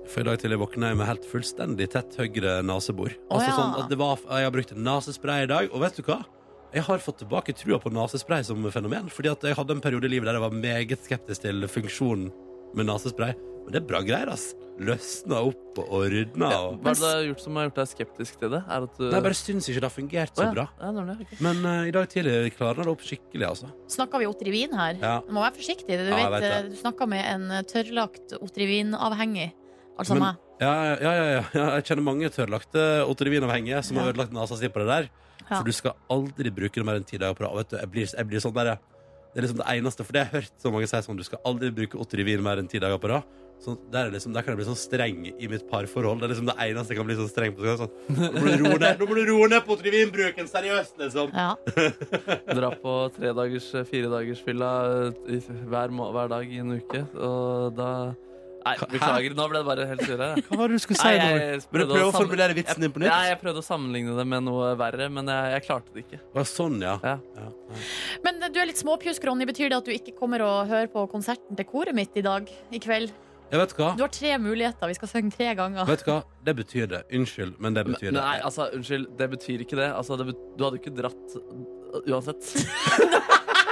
for i dag tidlig våkna jeg med helt fullstendig tett høyre nesebor. Altså
Å, ja.
sånn at det var, Jeg har brukt nesespray i dag, og vet du hva? Jeg har fått tilbake trua på nesespray som fenomen. Fordi at jeg hadde en periode i livet der jeg var meget skeptisk til funksjonen med nesespray. Men det er bra greier, ass. Løsna opp og ordna
Ja,
og
Hva er det du har gjort som har gjort deg skeptisk til det? Er at du...
Nei, jeg bare syns ikke det har fungert
Å,
så
ja.
bra.
Ja, nemlig. ok.
Men eh, i dag tidlig klarna det opp skikkelig, altså.
Snakker vi Otrivin her?
Ja.
Du må være forsiktig. Du,
Ja, jeg
vet,
vet
eh,
det.
du snakker med en eh, tørrlagt Otrivin-avhengig. Altså
Men-
meg.
Ja, ja, ja, ja, ja. Jeg kjenner mange tørrlagte Otrivin-avhengige som har ødelagt nesa si på det der.
Ja.
For du skal aldri bruke det mer enn ti dager på rad. Og Vet du, jeg blir, jeg blir sånn der, det er liksom det eneste, for det har jeg hørt så mange si sånn, du skal aldri bruke Otrivin mer enn ti dager på rad. Så der, er liksom, der kan jeg bli sånn streng i mitt parforhold. Det er liksom det eneste jeg kan bli sånn streng på. Sånn, nå må du roe ned, nå må du roe ned på Otrivin-bruken, seriøst, liksom.
Ja.
Dra på tredagers, firedagersfylla eh, i- hver, må- hver dag i en uke, og da Nei, beklager. Nå ble det bare helt surre.
Hva var det du skulle
Nei,
si
jeg
nå? Prøv
prøvde å
å
samle-
formulere vitsen din på
Nei,
nytt.
jeg prøvde å sammenligne det med noe verre, men jeg, jeg klarte det ikke.
Å, Sånn, ja.
Ja.
ja.
Men eh, du er litt småpjusk, Ronny. Betyr det at du ikke kommer og hører på konserten til koret mitt i dag? I kveld?
Jeg vet hva.
Du har tre muligheter. Vi skal synge tre ganger.
Vet du hva? Det betyr det. Unnskyld, men det betyr det.
Nei, altså, unnskyld, det betyr ikke det. Altså, det bet du hadde jo ikke dratt uh, uansett.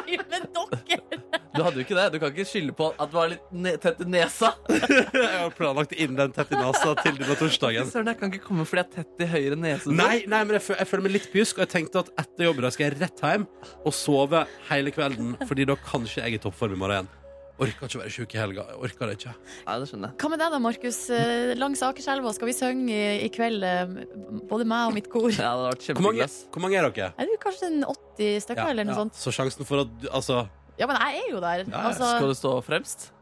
Nei, Men dere!
Du hadde jo ikke det. Du kan ikke skylde på at du var litt ne tett i nesa.
Jeg har planlagt inn den tett i nesa til denne torsdagen.
Søren, jeg kan ikke komme fordi jeg er tett i høyre nese.
Nei, nei, men jeg, føl jeg føler meg litt pjusk, og jeg tenkte at etter jobb i dag skal jeg rett hjem og sove hele kvelden, fordi da kanskje jeg er i toppform i morgen. Orker ikke å være sjuk i helga. Jeg orker det ikke.
Nei, det skjønner jeg.
Hva med deg da, Markus? Eh, Langs Akerselva skal vi synge i, i kveld. eh, Både meg og mitt kor.
Ja, det hadde
Hvor mange,
vært kjempehyggelig. ass.
hvor mange er dere?
Er du kanskje en sånn- 80 stykker,
Ja,
eller noe
ja.
sånt?
Så sjansen for at du, altså,
Ja, men jeg er jo der.
ja.
Altså,
Skal du stå fremst?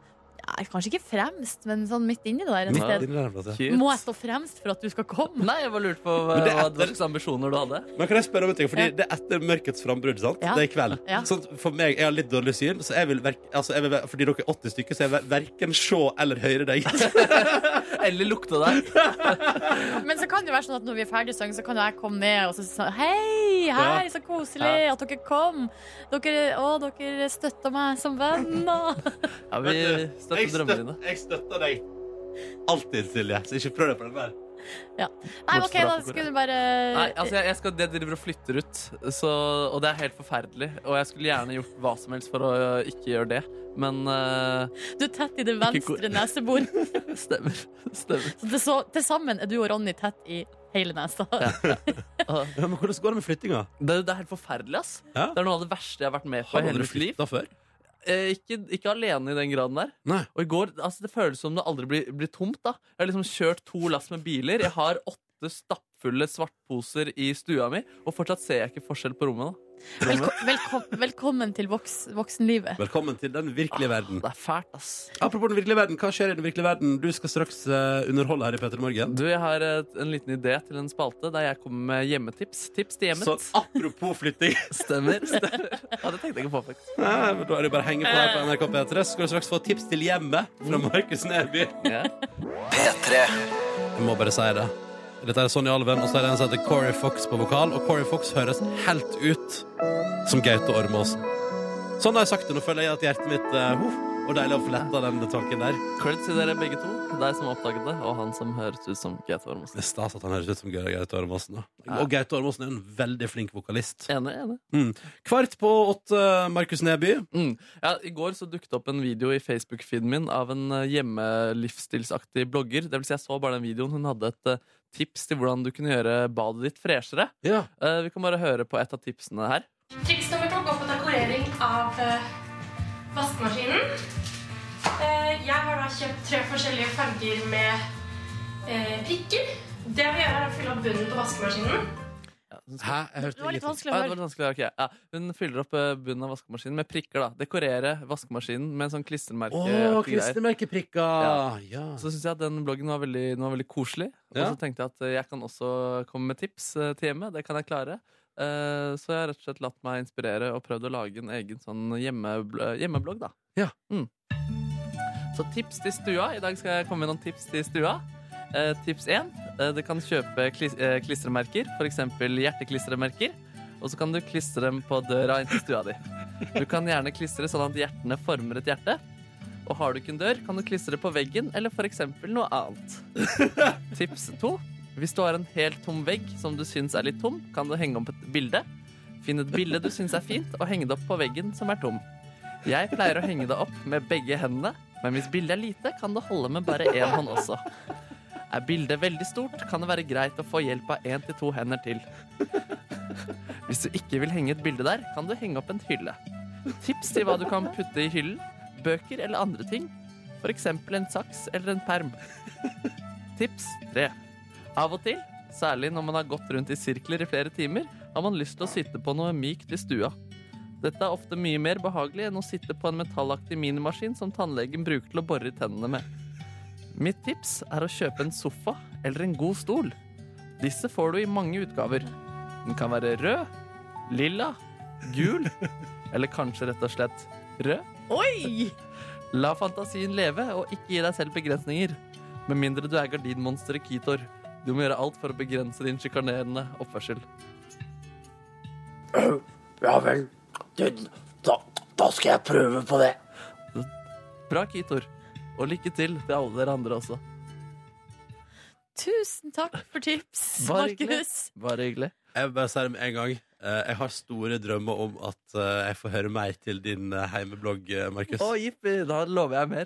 ja, kanskje ikke fremst, men sånn midt inni det der et
midt
sted.
inni der, altså.
Cute.
Må jeg stå fremst for at du skal komme?
Nei, jeg bare lurte på hva,
Men det er
hva
etter-
slags ambisjoner du hadde.
Men kan jeg spørre om en ting? Fordi
Ja.
Det er etter mørkets frambrudd. sant?
Ja.
Det er i kveld.
Ja.
Sånn, for meg, Jeg har litt dårlig syn, så jeg vil, verk, altså, jeg vil ver- fordi dere er 80 stykker, så jeg vil verken se eller høre deg.
Eller lukta deg.
Men så kan det være sånn at når vi er ferdig å synge, så kan jo jeg komme ned og så si sånn, Hei, hei, så koselig at dere kom. Dere, å, dere støtta meg som venner.
Ja, vi støtter drømmene dine.
jeg støtter deg. Alltid, Silje. Så ikke prøv deg på den der.
Nei, men OK, da skulle du bare
Nei, altså jeg, jeg skal, jeg driver og flytter ut, så, og det er helt forferdelig. Og jeg skulle gjerne gjort hva som helst for å ø, ikke gjøre det, men ø,
Du er tett i det venstre neseboret.
Stemmer. Stemmer.
Så til så- Til sammen er du og Ronny tett i hele nesa.
Ja, men hvordan går det med flyttinga?
Det, det er helt forferdelig, ass.
Ja.
Det er noe av det verste jeg har vært med på i
Har
hele
dere
mitt liv.
flytta før?
Eh, ikke, ikke alene i den graden der.
Nei.
Og i går, altså Det føles som det aldri blir, blir tomt. da Jeg har liksom kjørt to lass med biler. Jeg har åtte stappfulle svartposer i stua mi, og fortsatt ser jeg ikke forskjell på rommet. da
Velko velko velkommen til voks voksenlivet.
Velkommen til den virkelige verden.
Det er fælt, ass.
Apropos den virkelige verden, hva skjer i den virkelige verden? Du skal straks eh, underholde her i Petter Morgen.
Du, Jeg har eh, en liten idé til en spalte der jeg kommer med hjemmetips. Tips til hjemmet. Ah,
Så apropos flytting
Stemmer. stemmer. Ja, det tenkte jeg ikke på, faktisk.
Nei, men Da er det bare å henge på her på NRK P3, så skal du straks få tips til hjemmet
Mm.
fra Markus Neby.
Ja.
Jeg må bare si det. Dette er Sonja Alven, og så er det en som heter Corey Fox på vokal. Og Corey Fox høres helt ut som Gaute Ormåsen. Sånn har jeg sagt det. Nå føler jeg at hjertet mitt eh, huff, Og deilig å få letta den tanken der.
Credits til dere begge to. Deg som oppdaget det, og han som høres ut som Gaute Ormåsen.
Det er stas at han høres ut som Geir Gaute Ormåsen. da. Og Gaute Ormåsen er en veldig flink vokalist.
Enig, enig.
Kvart på åtte, eh, Markus Neby.
Mm. Ja, I går så dukket det opp en video i Facebook-feeden min av en eh, hjemmelivsstilsaktig blogger. Det vil si jeg så bare den videoen. Hun hadde et eh, tips til hvordan du kunne gjøre badet ditt freshere.
Ja.
Eh, Vi kan bare høre på et av tipsene her.
Triks nummer to går på dekorering av eh, vaskemaskinen. Eh, jeg har da kjøpt tre forskjellige farger med eh, prikker. Det vi gjør, er å fylle opp bunnen på vaskemaskinen.
Ja, hun skal-
Hæ? Jeg
Det var litt
ingenting.
vanskelig
Ah, det
å
var
høre.
litt vanskelig, ok. ja, hun fyller opp eh, bunnen av vaskemaskinen med prikker. da Dekorere vaskemaskinen med en sånn klistremerke.
Å,
aktig greier.
klistremerkeprikker! Ja.
Så syns jeg at den bloggen var veldig, den var veldig koselig. Og
Ja.
så tenkte jeg at eh, jeg kan også komme med tips eh, til hjemme. Det kan jeg klare. Eh, Så jeg har rett og slett latt meg inspirere og prøvd å lage en egen sånn hjemmebl eh, hjemmeblogg, da.
Ja.
Mm. Så tips til stua. I dag skal jeg komme med noen tips til stua. Eh, tips én. eh, Du kan kjøpe klis eh, klistremerker, f.eks. hjerteklistremerker. Og så kan du klistre dem på døra inn til stua di. Du kan gjerne klistre sånn at hjertene former et hjerte. Og har du ikke en dør, kan du klistre det på veggen eller f.eks. noe annet. Tips to. Hvis du har en helt tom vegg som du syns er litt tom, kan du henge opp et bilde. Finn et bilde du syns er fint, og henge det opp på veggen som er tom. Jeg pleier å henge det opp med begge hendene, men hvis bildet er lite, kan det holde med bare én hånd også. Er bildet veldig stort, kan det være greit å få hjelp av én til to hender til. Hvis du ikke vil henge et bilde der, kan du henge opp en hylle. Tips til hva du kan putte i hyllen bøker eller andre ting. For eksempel en saks eller en perm. Tips 3. Av og til, særlig når man har gått rundt i sirkler i flere timer, har man lyst til å sitte på noe mykt i stua. Dette er ofte mye mer behagelig enn å sitte på en metallaktig minimaskin som tannlegen bruker til å bore i tennene med. Mitt tips er å kjøpe en sofa eller en god stol. Disse får du i mange utgaver. Den kan være rød, lilla, gul, eller kanskje rett og slett rød.
Oi!
La fantasien leve, og ikke gi deg selv begrensninger. Med mindre du er gardinmonsteret Kitor. Du må gjøre alt for å begrense din sjikanerende oppførsel.
Ja vel. Det- Da, da skal jeg prøve på det.
Bra, Kitor. Og lykke til til alle dere andre også.
Tusen takk for tips,
Bare hyggelig.
Markus.
Bare hyggelig.
Jeg vil bare si det med en gang. Eh, Jeg har store drømmer om at eh, jeg får høre mer til din eh, heimeblogg, eh, Markus.
Å, jippi! Da lover jeg mer.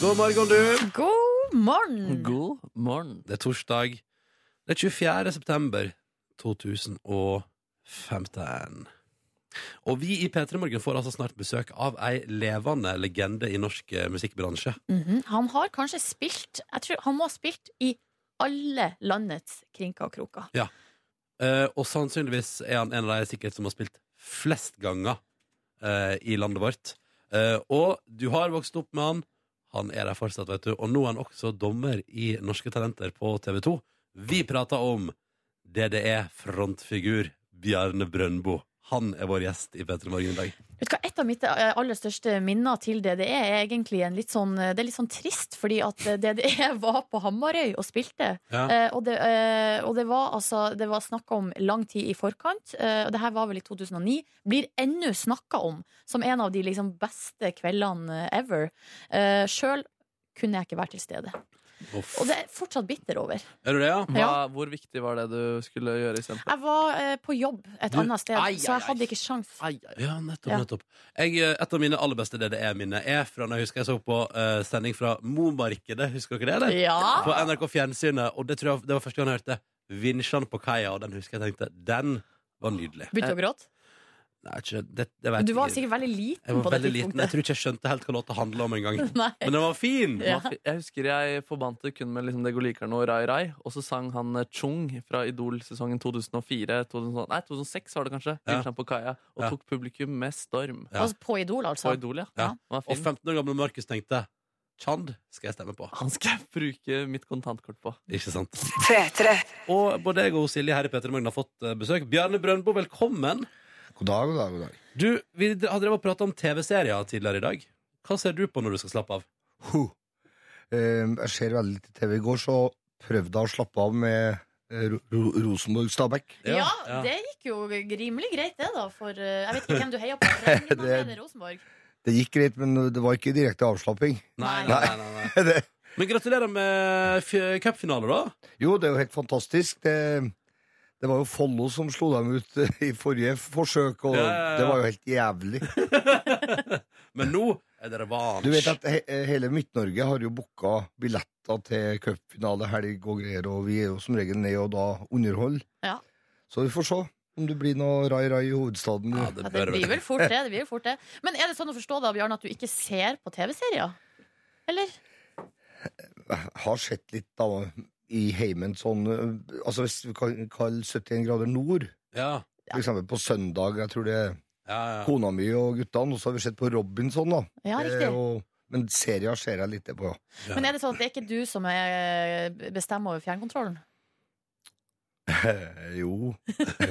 God morgen, du!
God morgen.
God morgen.
Det er torsdag. Det er 24. september 2015. Og vi i P3 Morgen får altså snart besøk av ei levende legende i norsk eh, musikkbransje.
Mhm. Han har kanskje spilt Jeg tror han må ha spilt i alle landets krinker og kroker.
Eh, og sannsynligvis er han en av de sikkert som har spilt flest ganger eh, i landet vårt. Eh, og du har vokst opp med han. Han er der fortsatt, vet du. Og nå er han også dommer i Norske Talenter på TV 2. Vi prater om DDE-frontfigur Bjarne Brøndbo. Han er vår gjest i P3 Morgen i dag.
Vet du hva, Et av mitt eh, aller største minner til DDE er egentlig en litt sånn Det er litt sånn trist, fordi at eh, DDE var på Hamarøy og spilte.
Ja.
Eh, og, det, eh, og det var altså Det var snakka om lang tid i forkant. eh, og det her var vel i 2009. Blir ennå snakka om som en av de liksom beste kveldene eh, ever. Eh, Sjøl kunne jeg ikke være til stede.
Uff.
Og det er jeg fortsatt bitter over.
Er du det, ja?
Hva, hvor viktig var det du skulle gjøre istedenfor?
Jeg var eh, på jobb et
Du-
annet sted,
Ai,
så
ai,
jeg
ai.
hadde ikke sjans.
Ja, nettopp,
Ja.
nettopp. Jeg, eh, et av mine aller beste DDE-minner er fra når jeg husker jeg så på eh, sending fra Momarkedet. Husker dere det? eller?
Ja!
på NRK Fjernsynet, og det tror jeg det var første gang jeg hørte Vinsjan på kaia, og den husker jeg tenkte Den var nydelig.
Begynte å gråte?
Nei, ikke, det, det vet
Du var
jeg ikke.
sikkert veldig
Jeg
liten
var
på det
veldig liten. Jeg
tidspunktet.
tror ikke jeg skjønte helt hva låta handla om engang.
Nei.
Men den var fin!
Ja.
Jeg husker jeg forbandt det kun med liksom det golikeren og Rai Rai, og så sang han eh, Chung fra Idol-sesongen 2004 2000, Nei, 2006 var det kanskje.
Ja.
Vinsjan på kaia, og
Ja.
tok publikum med storm.
Ja.
Altså på Idol, altså.
På Idol, ja.
Ja.
Den var
Og
fin.
15 år gamle Markus tenkte Chand skal jeg stemme på.
Han skal jeg bruke mitt kontantkort på.
Ikke sant? Og både jeg og Silje her i Peter Morgen har fått eh, besøk. Bjarne Brøndbo, velkommen.
God dag, god dag, god dag.
Du, Vi har drevet og prata om TV-serier tidligere i dag. Hva ser du på når du skal slappe av?
Ehm, Huh. Eh, jeg ser veldig lite TV. I går så prøvde jeg å slappe av med eh, Ro- Ro- Rosenborg-Stabæk.
Ja, det gikk jo rimelig greit, det, da. For eh, jeg vet ikke hvem du heier på. Jeg regner med at det er Rosenborg.
Det gikk greit, men det var ikke direkte avslapping.
Nei,
Nei.
nei, nei, nei.
Det,
Men gratulerer med f- cupfinale, da.
jo, det er jo helt fantastisk. Det, det var jo Follo som slo dem ut eh, i forrige forsøk, og
Ja, ja, ja.
det var jo helt jævlig.
Men nå er det revansj.
Du vet at he eh, hele Midt-Norge har jo booka billetter til cupfinale, helg og greier, og vi er jo som regel ned og da underhold.
Ja.
Så vi får se om det blir noe rai-rai i hovedstaden.
ja,
Ja,
det
det
bør
blir
vel
vel fort det. det blir vel fort det. Men er det sånn å forstå da, Bjørn, at du ikke ser på TV-serier? Eller?
Jeg har sett litt da i heimen sånn eh, Altså hvis vi kan kalle 71 grader nord,
Ja,
for eksempel på søndag, jeg tror det er
ja, ja.
kona mi og guttene, og så har vi sett på Robinson, da.
Ja,
Det er
riktig.
jo- men serier ser jeg lite på, ja.
Men er det sånn at det er ikke du som er bestemmer over fjernkontrollen?
Eh, Jo.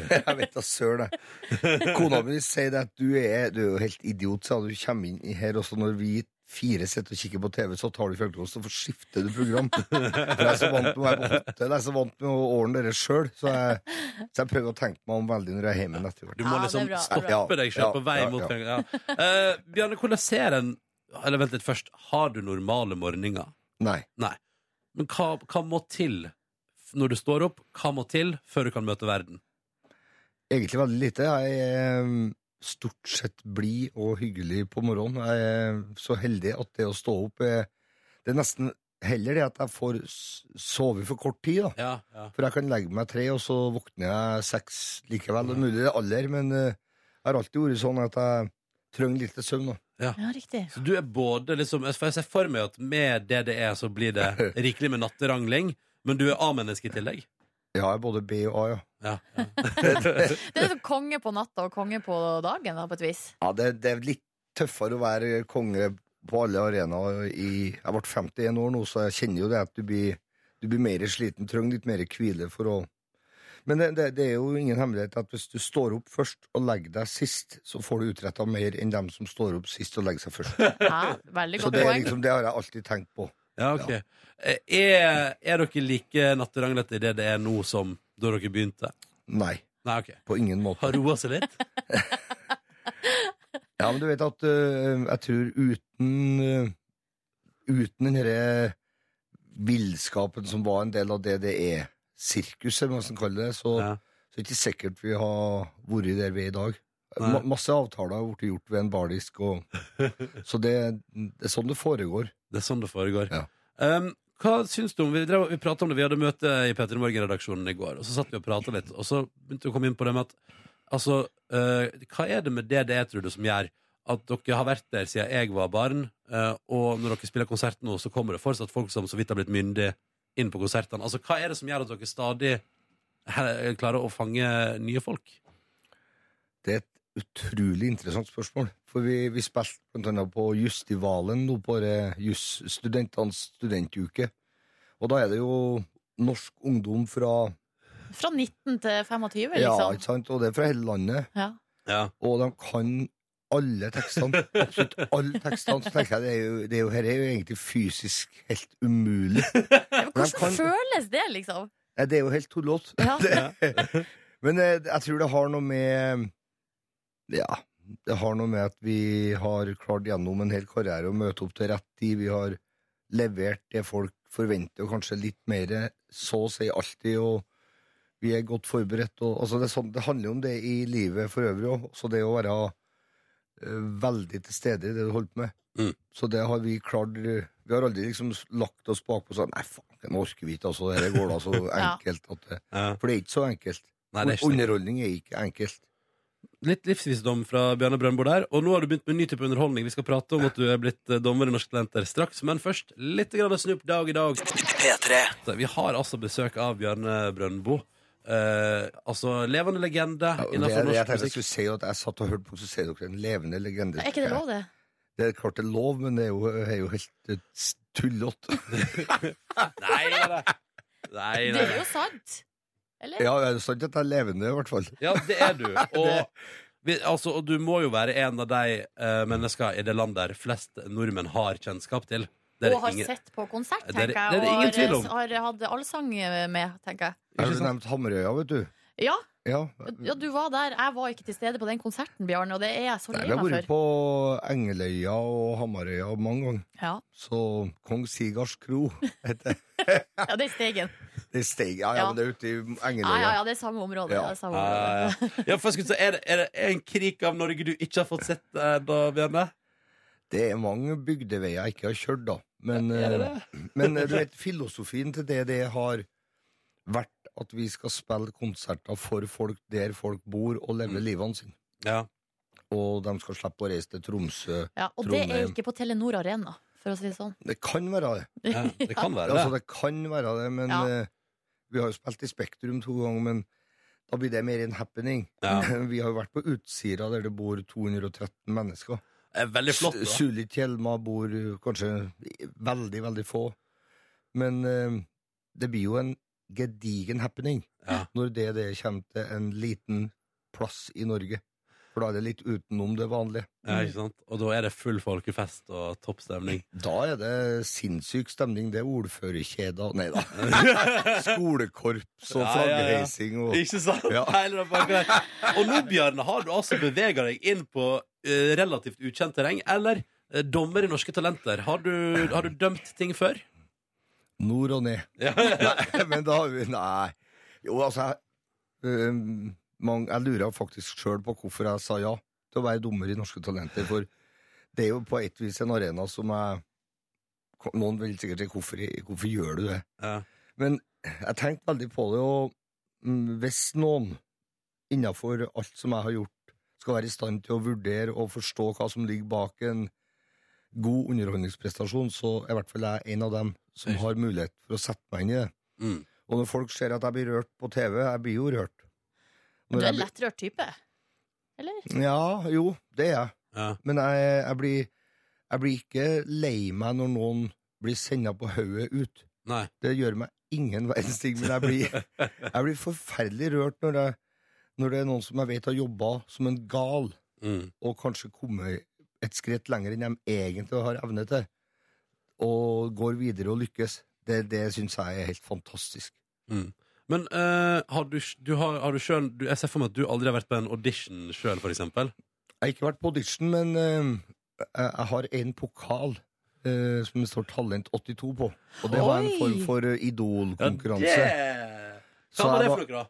jeg vet da søren, jeg. Kona mi sier det at du er, du er jo helt idiot, sa hun. du. kommer inn i her også når vi fire sitter og kikker på TV, så tar du fjernkontrollen, så skifter du program. For jeg er så vant med å være på hotell, jeg er så vant med å ordne det sjøl, så, jeg- så jeg prøver å tenke meg om veldig når jeg er hjemme etter hvert.
Du må
Ja, det
liksom
er bra, det er bra.
stoppe deg selv på vei
Ja, ja,
mot
ja.
ja. Eh, Bjarne, hvordan ser en Eller vent litt først. Har du normale morgener?
Nei.
Men hva, hva må til f- når du står opp? Hva må til før du kan møte verden?
Egentlig veldig lite. Jeg er eh, stort sett blid og hyggelig på morgenen. Jeg er så heldig at det å stå opp er Det er nesten heller det at jeg får s- sove for kort tid, da.
Ja, ja.
For jeg kan legge meg tre, og så våkner jeg seks likevel. Det er mulig det er alder, men eh, jeg har alltid vært sånn at jeg trenger litt søvn. Da.
Ja, riktig.
Så du er både liksom For jeg ser for meg at med det det er, så blir det rikelig med natterangling. Men du er A-menneske i tillegg.
Ja, jeg er både B og A, ja.
Ja, ja.
Det er sånn konge på natta og konge på dagen, da, på et vis.
ja det, det er litt tøffere å være konge på alle arenaer. i- Jeg ble 51 år nå, så jeg kjenner jo det at du blir, du blir mer sliten, trenger litt mer hvile for å men det, det, det er jo ingen hemmelighet at hvis du står opp først og legger deg sist, så får du utretta mer enn dem som står opp sist og legger seg først.
Ja, veldig
Så
godt
det, er
poeng.
liksom, det har jeg alltid tenkt på.
Ja, ok. Eh, Er, er dere like natteranglete i det det er nå som da dere begynte?
Nei,
Nei, ok.
på ingen måte.
Har roa seg litt?
Ja, men du vet at øh, jeg tror uten øh, Uten den herre villskapen som var en del av det det er sirkuset, eller hva man skal kalle det, så,
Ja.
så er det ikke sikkert vi har vært der vi er i dag.
Nei.
Ma masse avtaler har blitt gjort ved en bardisk, og, så det, det er sånn det foregår.
Det er sånn det foregår.
Ja.
Um, hva syns du om Vi, drev, vi pratet om det, vi hadde møte i P3 Morgen-redaksjonen i går, og så satt vi og prata litt, og så begynte vi å komme inn på det med at altså, eh, hva er det med det det er, tror du, som gjør at dere har vært der siden jeg var barn, eh, og når dere spiller konsert nå, så kommer det fortsatt folk som så vidt har blitt myndige inn på konsertene. Altså, hva er det som gjør at dere stadig he- klarer å fange nye folk?
Det er et utrolig interessant spørsmål. For vi, vi spilte blant annet på Justivalen nå på eh, jusstudentenes studentuke. Og da er det jo norsk ungdom fra
Fra 19 til 25,
Ja,
liksom.
ikke sant? Og det er fra hele landet.
Ja.
Ja.
Og de kan alle tekstene. Absolutt alle tekstene. Så tenker jeg det er jo, det er jo, her er jo egentlig fysisk helt umulig.
Men
Men
Hvordan
kan-
føles det, liksom?
Nei, Det er jo helt tullete.
Ja.
Men eh, jeg tror det har noe med Ja, det har noe med at vi har klart gjennom en hel karriere å møte opp til rett tid. Vi har levert det folk forventer, og kanskje litt mer, så å si alltid. og vi er godt forberedt. Og, altså det, er sånn, det handler jo om det i livet for øvrig òg. Så det å være eh, veldig til stede i det du holder på med.
Mm.
Så det har vi klart eh, Vi har aldri liksom lagt oss bakpå og sagt nei, faen, nå orker vi ikke, altså. Dette går da så
Ja.
enkelt. At det,
Ja.
for det er ikke så enkelt.
Nei, det er ikke det.
Underholdning er ikke enkelt.
litt livsvisdom fra Bjarne Brøndbo der. Og nå har du begynt med en ny type underholdning. Vi skal prate om at du er blitt eh, dommer i Norske Talenter straks. Men først litt grann Snoop Dogg i dag. Så Vi har altså besøk av Bjarne Brøndbo. Eh, altså levende legende
Ja, og det
innenfor
er det jeg tenkte
altså, norsk
jeg
musikk.
skulle si, at jeg satt og hørte på, så sier dere en levende legende.
Er ikke det lov, det?
Det er klart det er lov, men det er jo, er jo helt eh, tullete.
Nei, nei, nei.
Det
nei,
er
nei.
jo sant. Eller?
Ja, det er sant at jeg er levende, i hvert fall.
Ja, det er du. Og, vi, altså, eh, og du må jo være en av de uh, menneskene i det landet der flest nordmenn har kjennskap til. Det er
og har
ingen-
sett på konsert,
Det er-
tenker jeg.
det er det ingen tvil om.
Og har, har hatt allsang med, tenker jeg.
Jeg har jo nevnt Hammerøya, vet du.
Ja,
Ja.
ja, du var der. Jeg var ikke til stede på den konserten, Bjarne, og det er jeg så
Nei,
lei
vi har
meg
vært
for.
på Engeløya og Hamarøya mange ganger.
Ja.
Så Kong Sigars kro heter det.
ja, det er Stegen.
det. er Steg, ja, ja,
Ja.
men det er ute i
Ja, ja,
Engeløya.
ja, det er samme område.
Ja.
Det er samme område.
Ja, Ah, ja, ja. Ja, for jeg skulle si, er, det, er det en krik av Norge du ikke har fått sett eh, da, Bjørne?
Det er mange bygdeveier jeg ikke har kjørt, da. Men, eh, men eh, du vet, filosofien til det det har vært at vi skal spille konserter for folk der folk bor, og
Mm.
leve livene sine.
Ja.
Og de skal slippe å reise til Tromsø.
Ja, og det er
Trondheim.
ikke på Telenor Arena, for å si det sånn.
Det kan være det.
ja. Det kan være det.
Altså, det kan være det, men
Ja.
eh, Vi har jo spilt i Spektrum to ganger, men da blir det mer en happening.
Ja.
Vi har jo vært på Utsira, der det bor 213 mennesker.
Det er Eh, veldig flott.
S-
Da.
Sulitjelma bor eh, kanskje veldig, veldig få. Men eh, det blir jo en gedigen happening
Ja.
når det, det kommer til en liten plass i Norge. For da er det litt utenom det vanlige.
Ja, ikke sant? Og da er det full folkefest og topp stemning.
Da er det sinnssyk stemning. Det er ordførerkjeder Nei da. Skolekorps og
Ja, ja, ja.
flaggheising og
Ikke sant?
Ja.
Hele den pakka her. Og nå, Bjørn, har du altså bevega deg inn på eh, relativt ukjent terreng, eller eh, dommer i Norske Talenter. Har du, har du dømt ting før?
Nord og ned.
Ja.
Nei, men da har vi Nei. Jo, altså jeg, øhm, mang- jeg lurer faktisk sjøl på hvorfor jeg sa ja til å være dommer i Norske Talenter. For det er jo på et vis en arena som jeg Noen vil sikkert si hvorfor, hvorfor gjør du det?
Ja.
Men jeg tenkte veldig på det, og mm, hvis noen innafor alt som jeg har gjort, skal være i stand til å vurdere og forstå hva som ligger bak en god underholdningsprestasjon, så er i hvert fall jeg en av dem som
Høyst.
har mulighet for å sette meg inn i det.
Mm.
Og når folk ser at jeg blir rørt på TV, jeg blir jo rørt.
Men
Når
du er
jeg
en
blir-
lettrørt type. Eller?
Ja, jo, det er jeg.
Ja.
Men jeg, jeg, blir, jeg blir ikke lei meg når noen blir senda på hodet ut.
Nei.
Det gjør meg ingen verdens ting, men jeg blir, jeg blir forferdelig rørt når, jeg, når det er noen som jeg vet har jobba som en gal,
Mm.
og kanskje kommet et skritt lenger enn de egentlig har evne til, og går videre og lykkes. Det, det syns jeg er helt fantastisk.
Men eh, har du, du, har, har du sjøl du, Jeg ser for meg at du aldri har vært på en audition sjøl, for eksempel.
Jeg har ikke vært på audition, men eh, jeg, jeg har en pokal eh, som det står Talent 82 på. Og det var en
Oi!
form for eh, idolkonkurranse.
Hva
Så
var det
jeg
for noe, da?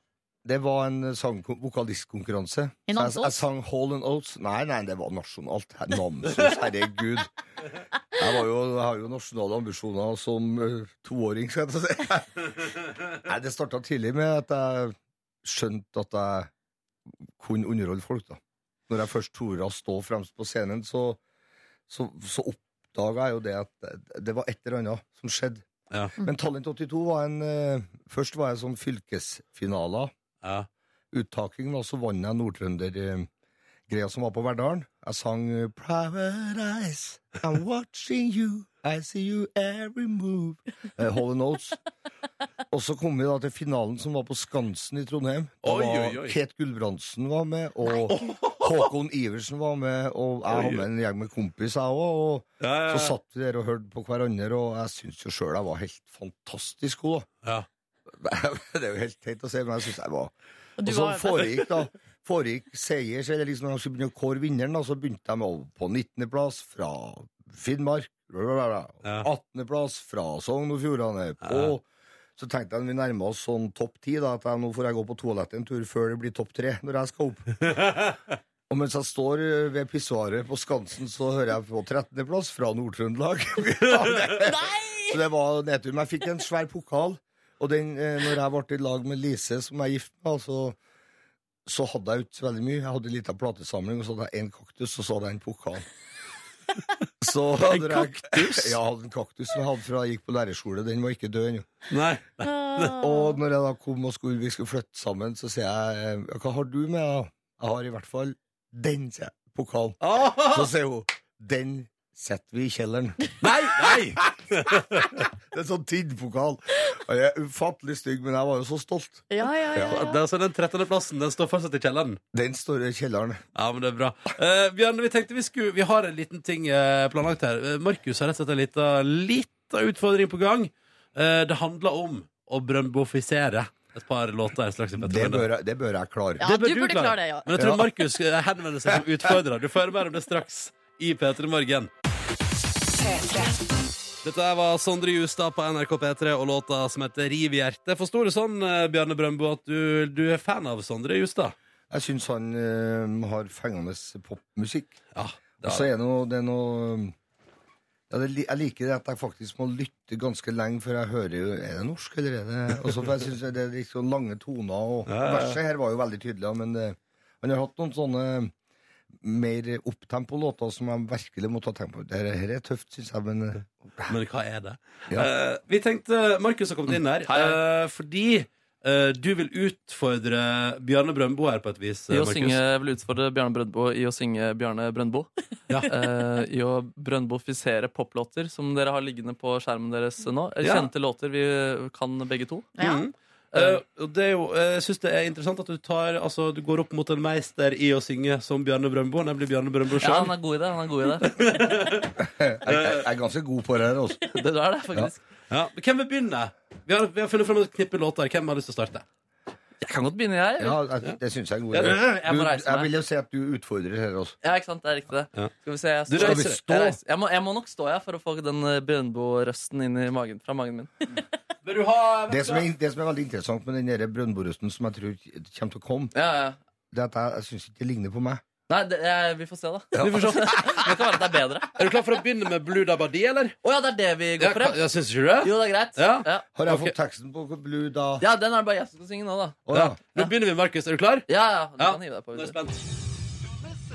det var en eh, sang- vokalistkonkurranse.
I
Så jeg,
Namsos?
jeg sang Hall and Oats. Nei, nei, det var nasjonalt. Her- Namsos, herregud. Jeg, var jo, jeg har jo nasjonale ambisjoner som eh, toåring, skal jeg til å si. Nei, det starta tidlig med at jeg skjønte at jeg kunne underholde folk, da. Når jeg først torde å stå fremst på scenen, så, så, så oppdaga jeg jo det at det var et eller annet som skjedde.
Ja.
Men Talent 82 var en eh, Først var jeg sånn fylkesfinaler
Ja.
uttaking, da, så vant jeg Nord-Trønder-greia som var på Verdalen. Jeg sang eh, Private Eyes, I'm watching you, I see you every move. Eh, Hall Notes. Og så kom vi da til finalen som var på Skansen i Trondheim. Da
Oi,
var
oi, oi.
Kate Gulbrandsen var med, og Håkon Iversen var med, og jeg
Oi,
hadde med en gjeng med kompiser, jeg òg. Og
Ja, ja,
så satt vi der og hørte på hverandre, og jeg syns jo sjøl jeg var helt fantastisk god, da.
ja.
Det er jo helt teit å si, men jeg syns jeg var
Og du
og så
var-
foregikk da foregikk seier, så eller liksom når de skulle begynne å kåre vinneren, da, så begynte de over på 19. plass fra Finnmark, bla, bla, bla, bla.
Ja.
18. plass fra Sogn og Fjordane, på Så tenkte jeg når vi nærmer oss sånn topp ti, da, at jeg, nå får jeg gå på toalettet en tur før det blir topp tre når jeg skal opp.
Ah.
Og mens jeg står eh, ved pissoaret på Skansen, så hører jeg på 13. plass fra Nord-Trøndelag.
Nei!
Så det var nedtur. Men jeg fikk en svær pokal. Og den, eh, når jeg ble i lag med Lise, som jeg er gift med, altså, så hadde jeg ikke så veldig mye. Jeg hadde en liten platesamling, og så hadde jeg en kaktus, og så hadde jeg en pokal. Så hadde
En
jeg- Ja, jeg hadde en kaktus som jeg hadde fra jeg gikk på lærerskole. Den var ikke død ennå.
Nei.
Og når jeg da kom og skulle, vi skulle flytte sammen, så sier jeg eh, Hva har du med? da?» Jeg har i hvert fall den, sier jeg. Pokalen. Så sier hun Den setter vi i kjelleren.
Nei, nei!
Det er en sånn tynnpokal. Og jeg er ufattelig stygg, men jeg var jo så stolt.
Ja, ja, ja, ja.
Det er altså Den 13. plassen den står fortsatt i kjelleren.
Den står i kjelleren.
Ja, men det er bra. Eh, Bjørn, vi tenkte vi skulle Vi har en liten ting eh, planlagt her. Eh, Markus har rett og slett en lita, lita utfordring på gang. Eh, det handler om å brønnbofisere et par låter straks i
Det
Petter Morgen.
bør jeg, det bør jeg klare.
Ja, du burde klare det, ja.
Men jeg
Ja.
tror Markus eh, henvender seg som utfordrer. Du får høre mer om det straks i P3 Morgen. Dette her var Sondre Justad på NRK P3 og låta som heter Riv i hjertet. Forsto det sånn, eh, Bjarne Brøndbo, at du, du er fan av Sondre Justad?
Jeg syns han eh, har fengende popmusikk.
Ja.
Og
altså,
så er det noe, det er noe um, ja, det, li- Jeg liker det at jeg faktisk må lytte ganske lenge før jeg hører jo, Er det norsk, eller er det Og så for jeg synes det er litt sånn lange toner, og
Ja, ja, ja.
verset her var jo veldig tydelig, men det, han har hatt noen sånne um, mer opptempo-låter som jeg virkelig må ta tenke på. Dette her er tøft, syns jeg, men eh,
Men hva er det?
Ja.
Eh, vi tenkte Markus har kommet inn her
Mm. Hei, hei.
eh, fordi eh, du vil utfordre Bjarne Brøndbo her på et vis. eh,
I å
Markus.
synge, jeg vil utfordre Bjarne Brøndbo i å synge Bjarne Brøndbo.
Ja.
Eh, I å brøndbofisere poplåter som dere har liggende på skjermen deres nå. Eh,
Ja.
Kjente låter vi kan begge to.
Ja.
Mm.
Mhm. Eh, og det er jo, eh, jeg syns det er interessant at du tar Altså, du går opp mot en meister i å synge som Bjarne Brøndbo, nemlig Bjarne Brøndbo
Ja,
sjøl.
han er god i det. han er god i Det
jeg, jeg, jeg er ganske god på det her, altså.
Det du er det, faktisk.
Ja. men Hvem vil begynne? Vi har, vi har funnet frem et knippe låter. Hvem har lyst til å starte?
Jeg kan godt begynne, jeg.
Ja, jeg, det syns jeg er en god
Ja,
idé.
jeg må
Du-
reise meg.
Jeg vil jo si at du utfordrer her, altså.
Ja, ikke sant, det er riktig det.
Ja.
Skal vi se, jeg
Du
står-
reiser.
Jeg, reiser. jeg, må, jeg må nok stå, jeg, for å få den eh, Brøndbo-røsten inn i magen, fra magen min.
Vil du ha
Det som, er, det som er veldig interessant med den der Brøndbo-rusten som jeg tror kommer til å komme,
Ja, ja.
det er at jeg, jeg syns ikke det ligner på meg.
Nei, det, jeg, vi får se, da.
Vi får se.
Det kan være at det er bedre. Å
Er du klar for å begynne med Blue Dabadi, eller?
ja, det er det vi går for, ja.
jeg syns ikke det.
Jo, det er greit.
Ja.
Ja.
Har jeg
Ok.
fått teksten på Blue da?
ja, den er det bare jeg som skal synge nå, da.
Å,
Ja.
ja.
Nå begynner vi, Markus. Er du klar?
Ja, ja, du
Ja.
kan hive deg på.
Nå er jeg
Hvis du-
spent.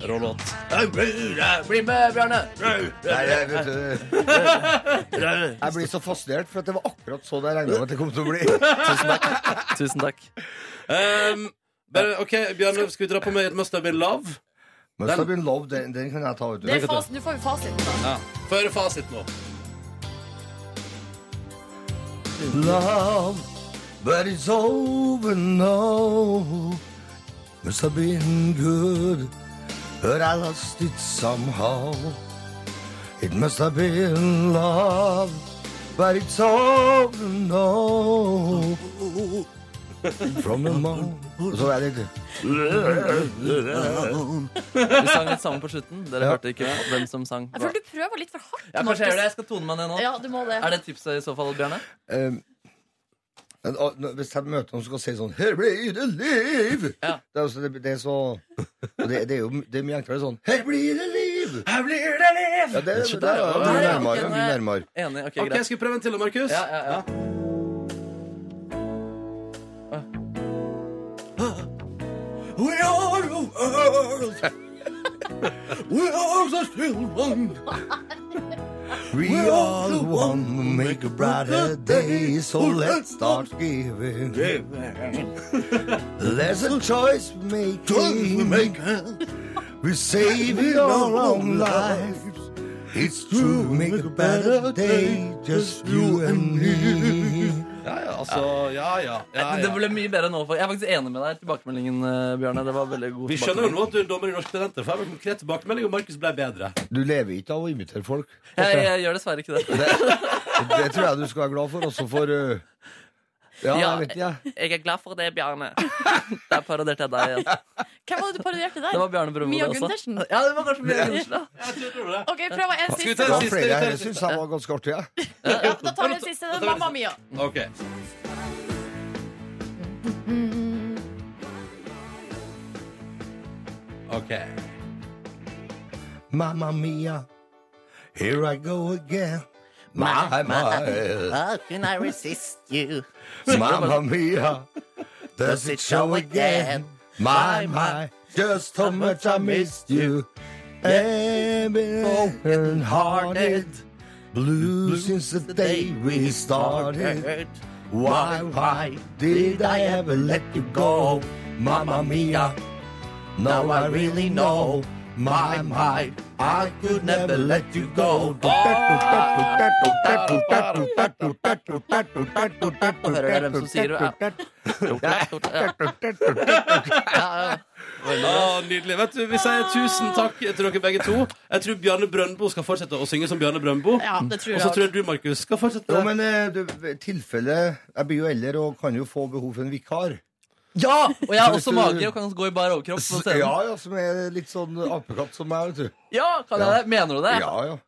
Rå låt.
Bli med, Bjarne!
Nei, jeg, vet, du, jeg blir så fascinert, for at det var akkurat sånn jeg regna med at det kom til å bli.
Tusen takk.
Um, bare, OK, Bjarne, skal vi dra på med et Must Have Been Love?
Men så blir love, den, den kan jeg ta ut.
Det er fas- Nå får vi fasiten, da.
Ja. Få høre fasit nå.
Love, but it's over now. Must have been good, but I lost it somehow. It must have been love, but it's over now. From the moon Og så er det ikke
Vi sang litt sammen på slutten. Dere
Ja.
hørte ikke hvem som sang.
Jeg
hva.
føler du prøver litt for hardt,
Ja, kanskje jeg gjør det.
Markus.
Jeg skal tone meg ned nå.
Ja, du må det.
Er det tipset i så fall, Bjarne?
um, men, ah, nå- Hvis jeg møter noen som skal si sånn Her blir det liv!
Ja.
Det, er, altså- det, det er så og det, det er jo det er mye enklere sånn Her blir det liv!
Her blir det liv!
Ja, det, det,
Ikke
det er
der, ja.
mye
Nei, ja,
nærmere. mye
ok, nei.
nærmere.
Enig? Ok,
OK,
greit.
skal vi prøve en til, Markus?
Ja, ja, ja.
We are the world. We are the still one. We are the one who make a brighter day, so let's start giving. There's a choice we make. we make. We save it all our own lives. It's true, make a better day, just you and me.
Ja, ja, altså, ja, ja. ja,
Nei, Det
ja.
ble mye bedre nå. for- Jeg er faktisk enig med deg i tilbakemeldingen, eh, Bjarne. Det var veldig god
Vi skjønner jo
tilbakemelding.
nå at du er dommer i Norsk Talenter, for jeg har en konkret tilbakemelding, og Markus ble bedre.
Du lever ikke av å imitere folk.
Jeg, jeg gjør dessverre ikke det.
Det, det tror jeg du skal være glad for, også for uh, Ja,
Ja.
jeg vet ikke, jeg.
Jeg er glad for det, Bjarne. Der paroderte jeg deg igjen.
Hvem var det du parodierte
Det var
der?
Bjarne Brumund
Mia
også.
Gundersen?
Ja, det var kanskje Mia Gundersen. da.
OK, prøv en
Skal vi
siste.
ta
Det
en
var
siste?
flere
vi tar
her
en
jeg syns
siste.
jeg var ganske artig. Jeg.
Ja, da tar vi den siste. Det er Mamma Mia.
Ok. Ok.
Mamma mia, here I go again. My, my,
How can I resist you?
mamma mia, does it show again? My, my, just how much I missed you. I've been broken-hearted, blue since the day we started. Why, why did I ever let you go? Mamma mia, now I really know. My, my, I could never let you go.
Hører dere hvem som sier det? Ja. Ja, ja.
Ah, nydelig. Vet du, Vi sier tusen takk til dere begge to. Jeg tror Bjarne Brøndbo skal fortsette å synge som Bjørne Brøndbo.
Ja, det tror
Og
jeg.
så tror jeg du, Markus, skal fortsette.
Jo, men eh, du, tilfelle Jeg blir jo eldre og kan jo få behov for en vikar.
ja! Og jeg har
Så hvis
også
du-
mage og kan gå i bar overkropp på
S- Ja,
scenen.
ja, som er litt sånn apekatt som meg, vet du.
Ja, kan jeg det? Mener du det?
Ja, ja.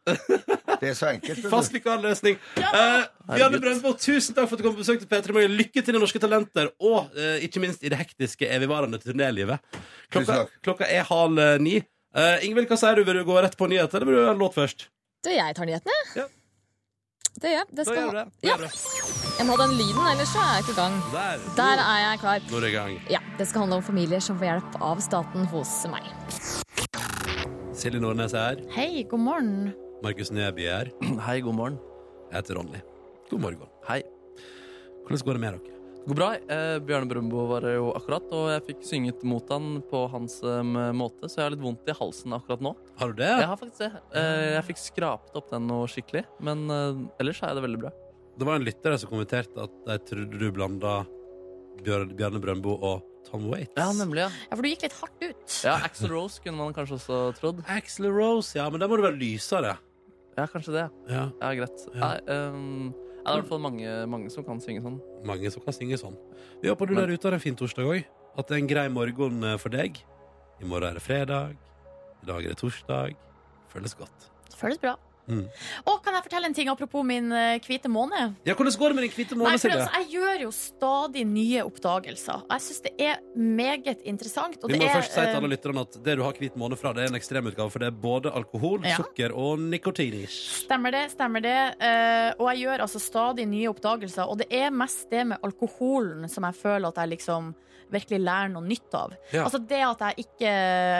Det er så enkelt.
Fast
Vet du.
vikarløsning. Eh, Bjarne Brøndbo, tusen takk for at du kom på besøk til P3 Morgen. Lykke til i Norske Talenter, og eh, ikke minst i det hektiske, evigvarende turnélivet. Klokka,
Tusen takk.
klokka er halv eh, ni. Eh, Ingvild, hva sier du? Vil du gå rett på nyheter, eller vil du ha en låt først?
Du, jeg tar nyhetene.
Ja.
Det gjør jeg. Det
Da
skal...
gjør du det. Da
Ja.
gjør du det.
Jeg må ha den lyden, ellers så er jeg ikke i gang.
Der.
Der er jeg klar.
Nå er det i gang.
Ja, Det skal handle om familier som får hjelp av staten hos meg.
Silje Nordnes er her.
Hei, god morgen.
Markus Neby er her.
Hei, god morgen.
Jeg heter Ronny. God morgen.
Hei.
Hvordan går det med dere?
Det går bra. Eh, Bjarne Brumbo var det jo akkurat, og jeg fikk synget mot han på hans eh, måte, så jeg har litt vondt i halsen akkurat nå.
Har du det?
Jeg har faktisk det. Eh, jeg fikk skrapt opp den noe skikkelig, men eh, ellers er det veldig bra.
Det var en lytter her som kommenterte at de trodde du blanda Bjørn, Bjarne Brøndbo og Tom Waits.
Ja, nemlig, ja.
Ja, for du gikk litt hardt ut.
Ja, Axel Rose kunne man kanskje også trodd.
Axl Rose, ja, men da må du være lysere.
Ja, kanskje det.
Ja,
Ja, greit.
Ja.
Nei, ehm, ja, det er i hvert fall mange, mange som kan synge sånn.
mange som kan synge sånn. Vi håper du der ute har en fin torsdag òg. At det er en grei morgen eh, for deg. I morgen er det fredag. I dag er det torsdag. Føles godt.
Det føles bra.
Mm.
Og kan jeg fortelle en ting apropos min eh, hvite måned?
Ja, hvordan går det med den hvite
Nei,
månen,
for
Silje?
altså, jeg gjør jo stadig nye oppdagelser. Og Jeg syns det er meget interessant. Og
Vi
det
må
er,
først si til
eh,
alle lytterne at det du har hvit måne fra, det er en ekstremutgave, for det er både alkohol,
Ja.
sukker og nikotinish.
Stemmer det, stemmer det. Eh, og jeg gjør altså stadig nye oppdagelser. Og det er mest det med alkoholen som jeg føler at jeg liksom virkelig lærer noe nytt av.
Ja.
Altså det at jeg ikke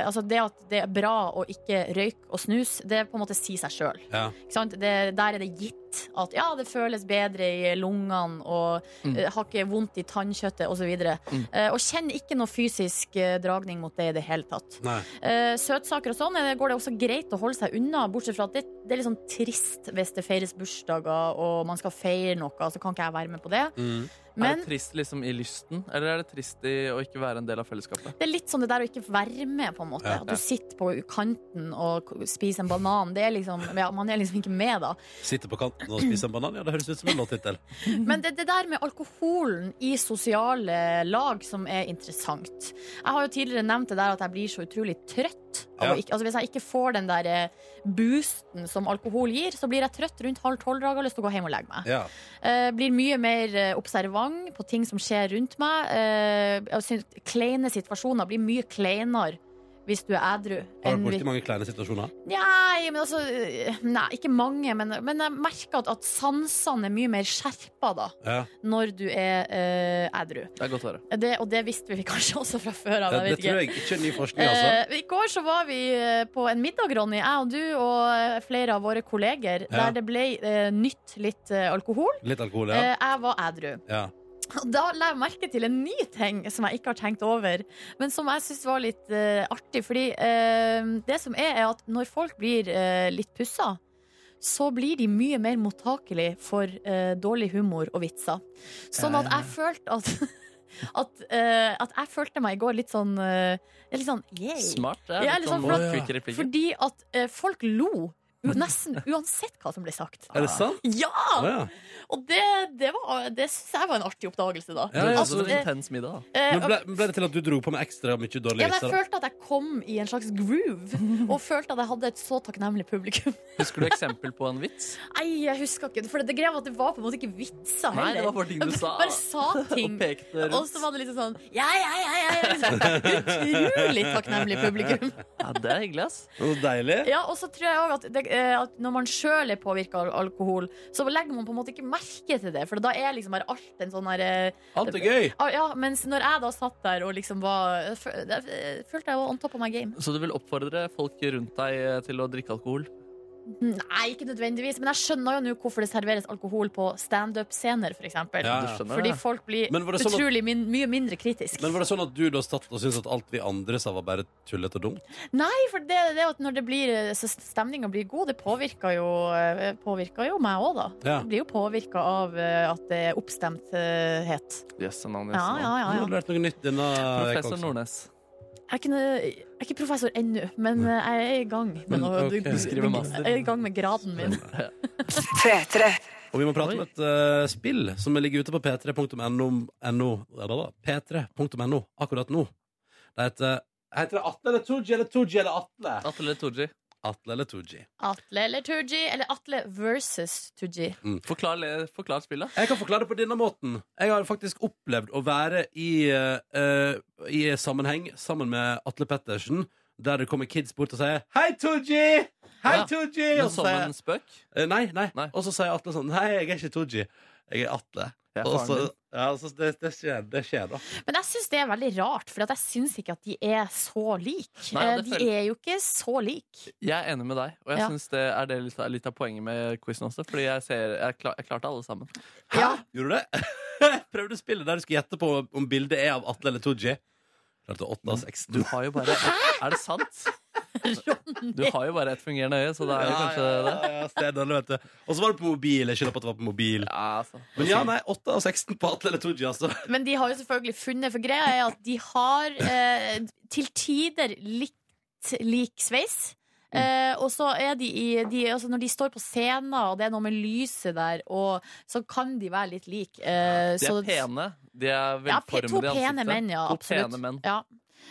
Altså det at det er bra å ikke røyke og snus, det på en måte sier seg sjøl.
Ja.
Der er det gitt at ja, det føles bedre i lungene og
Mm.
eh, har ikke vondt i tannkjøttet osv.
Mm.
Eh, og kjenner ikke noe fysisk eh, dragning mot det i det hele tatt.
Nei.
Eh, søtsaker og sånn eh, går det også greit å holde seg unna, bortsett fra at det, det er litt sånn trist hvis det feires bursdager og man skal feire noe, så kan ikke jeg være med på det.
Mm.
er
Men
det trist liksom i lysten, eller er det trist i å ikke være en del av fellesskapet?
det er litt sånn det der å ikke være med, på en måte.
Ja.
At du sitter på kanten og k- spiser en banan. Det er liksom, ja, man er liksom ikke med, da.
Sitte på kanten og spise en banan? Ja, det høres ut som en låttittel.
Men det, det der med alkoholen i sosiale lag som er interessant. Jeg har jo tidligere nevnt det der at jeg blir så utrolig trøtt. Av
Ja.
å ikke, altså hvis jeg ikke får den der eh, boosten som alkohol gir, så blir jeg trøtt rundt halv tolv-draget og har lyst til å gå hjem og legge meg.
Ja.
Eh, blir mye mer eh, observant på ting som skjer rundt meg. Eh, jeg synes kleine situasjoner blir mye kleinere hvis du er ædru.
Har
enn
du
hvis-
borti mange kleine situasjoner?
Nei, men altså Nei, ikke mange, men, men jeg merker at, at sansene er mye mer skjerpa da,
Ja.
når du er eh, ædru.
Det er godt å høre.
Det, og det visste vi kanskje også fra før av.
Det,
jeg
det
vet
tror
ikke.
jeg ikke er ny forskning, altså.
Eh, I går så var vi eh, på en middag, Ronny, jeg og du og eh, flere av våre kolleger,
Ja.
der det ble eh, nytt litt eh, alkohol.
Litt alkohol, ja.
Eh, jeg var ædru.
ja.
Og Da la jeg merke til en ny ting som jeg ikke har tenkt over, men som jeg syns var litt eh, artig. Fordi eh, det som er, er at når folk blir eh, litt pussa, så blir de mye mer mottakelige for eh, dårlig humor og vitser. Sånn at
Eh.
jeg følte at at, eh, at jeg følte meg i går litt sånn eh, Litt sånn yay.
Smart. Det er
Ja,
litt sånn
liksom, for
at-
kvikke replikker.
Fordi at eh, folk lo. u- Nesten uansett hva som ble sagt.
Er det sant? Å,
Ja!
ja.
Og det, det, var- det syns jeg var en artig oppdagelse, da.
Ja, ja,
det er
Altså,
sånn en
eh,
intens middag, da.
Eh,
Men ble, ble det til at du dro på med ekstra mye
ja,
dårlige
men jeg
vitser? da?
følte at jeg kom i en slags groove, og følte at jeg hadde et så takknemlig publikum.
Husker du eksempel på en vits?
Nei, jeg husker ikke, for det greia var at det var på en måte ikke
Nei,
vitser
det
Ah, heller.
var bare ting du
Jeg
sa.
Bare sa ting.
Og pekte
Og
rundt.
så var det liksom sånn Ja, ja, ja, ja, ja. liksom. Utrolig takknemlig publikum.
Ja, det er hyggelig, ass.
Så deilig.
Ja, og så tror jeg også at det, eh, at når man sjøl er påvirka av alkohol, så legger man på en måte ikke merke til det. For da er liksom bare alt en sånn her eh,
Alt er gøy.
Ah, Ja, mens når jeg da satt der og liksom var fø- det- eh, Følte jeg var on top of my game.
Så du vil oppfordre folk rundt deg eh, til å drikke alkohol?
Nei, ikke nødvendigvis, men jeg skjønner jo nå hvorfor det serveres alkohol på standup-scener, f.eks.
Ja, ja. Du skjønner
Fordi
det.
folk blir
Men var det sånn at-
utrolig min, mye mindre kritisk.
Men var det sånn at du da satt og syntes at alt vi andre sa, var bare tullete og dumt?
Nei, for det, det er jo at når det blir eh, så stemninga blir god, det påvirker jo, eh, påvirker jo meg òg, da.
Ja.
Jeg blir jo påvirka av eh, at det er oppstemthet.
Yes, and on, yes, and on.
Ja, ja, ja,
Nå
ja.
har du lært noe nytt denne
Professor
veka også.
Nordnes.
Jeg, kunne, jeg er ikke professor ennå, men eh, jeg er i gang med,
Mm. Men,
noe,
ok.
du- du-
Skriver master.
jeg er i gang med graden min.
Og vi må prate om et eh, spill som ligger ute på p3.no no, ja, da, da, p3.no akkurat nå. Det heter Heter det Atle eller Tooji eller Tooji eller Atle?
Atle eller Tooji.
Atle eller Tooji.
Atle eller Tooji, eller Atle versus Tooji.
Forklar, le- forklar spillet.
Jeg kan forklare det på denne måten. Jeg har faktisk opplevd å være i, eh, i sammenheng sammen med Atle Pettersen, der det kommer kids bort og sier 'Hei, Tooji! Hei,
Ja,
Tooji!'
Men
Og så
som
sier jeg-
en spøk?
Eh, Nei, nei.
Nei.
Og så sier Atle sånn Nei, jeg er ikke Tooji. Jeg er Atle.
Jeg er
Og
faren
så,
din.
ja, så det, det, skjer, det skjer, da.
Men jeg syns det er veldig rart, for at jeg syns ikke at de er så like.
Nei,
Eh,
det
de
føler-
er jo ikke så like.
Jeg er enig med deg, og jeg
Ja.
synes det er det litt, litt av poenget med quizen også. Fordi jeg, ser, jeg, klar, jeg klarte alle sammen.
Hæ?
Ja.
Gjorde du det? Jeg Prøvde å spille der du skulle gjette på om bildet er av Atle eller Tooji. Klarte åtte av seks.
Du har jo bare Er det sant? Du har jo bare ett fungerende øye, så da er det kanskje
ja,
det.
ja, ja, stedet, vet du. Og så var det på mobil. Jeg skylder på at det var på mobil.
Ja, altså.
Men ja, nei, åtte av 16 på Atle eller Tooji, altså.
Men de har jo selvfølgelig funnet, for greia er at de har eh, til tider likt lik sveis.
Mm.
Eh, og så er de, i, de altså Når de står på scenen, og det er noe med lyset der, og, så kan de være litt like. Eh,
De
så-
er pene. De er
Ja, pe-
velformede
to
i
pene
ansiktet.
menn, ja.
To
Absolutt.
pene menn.
Ja.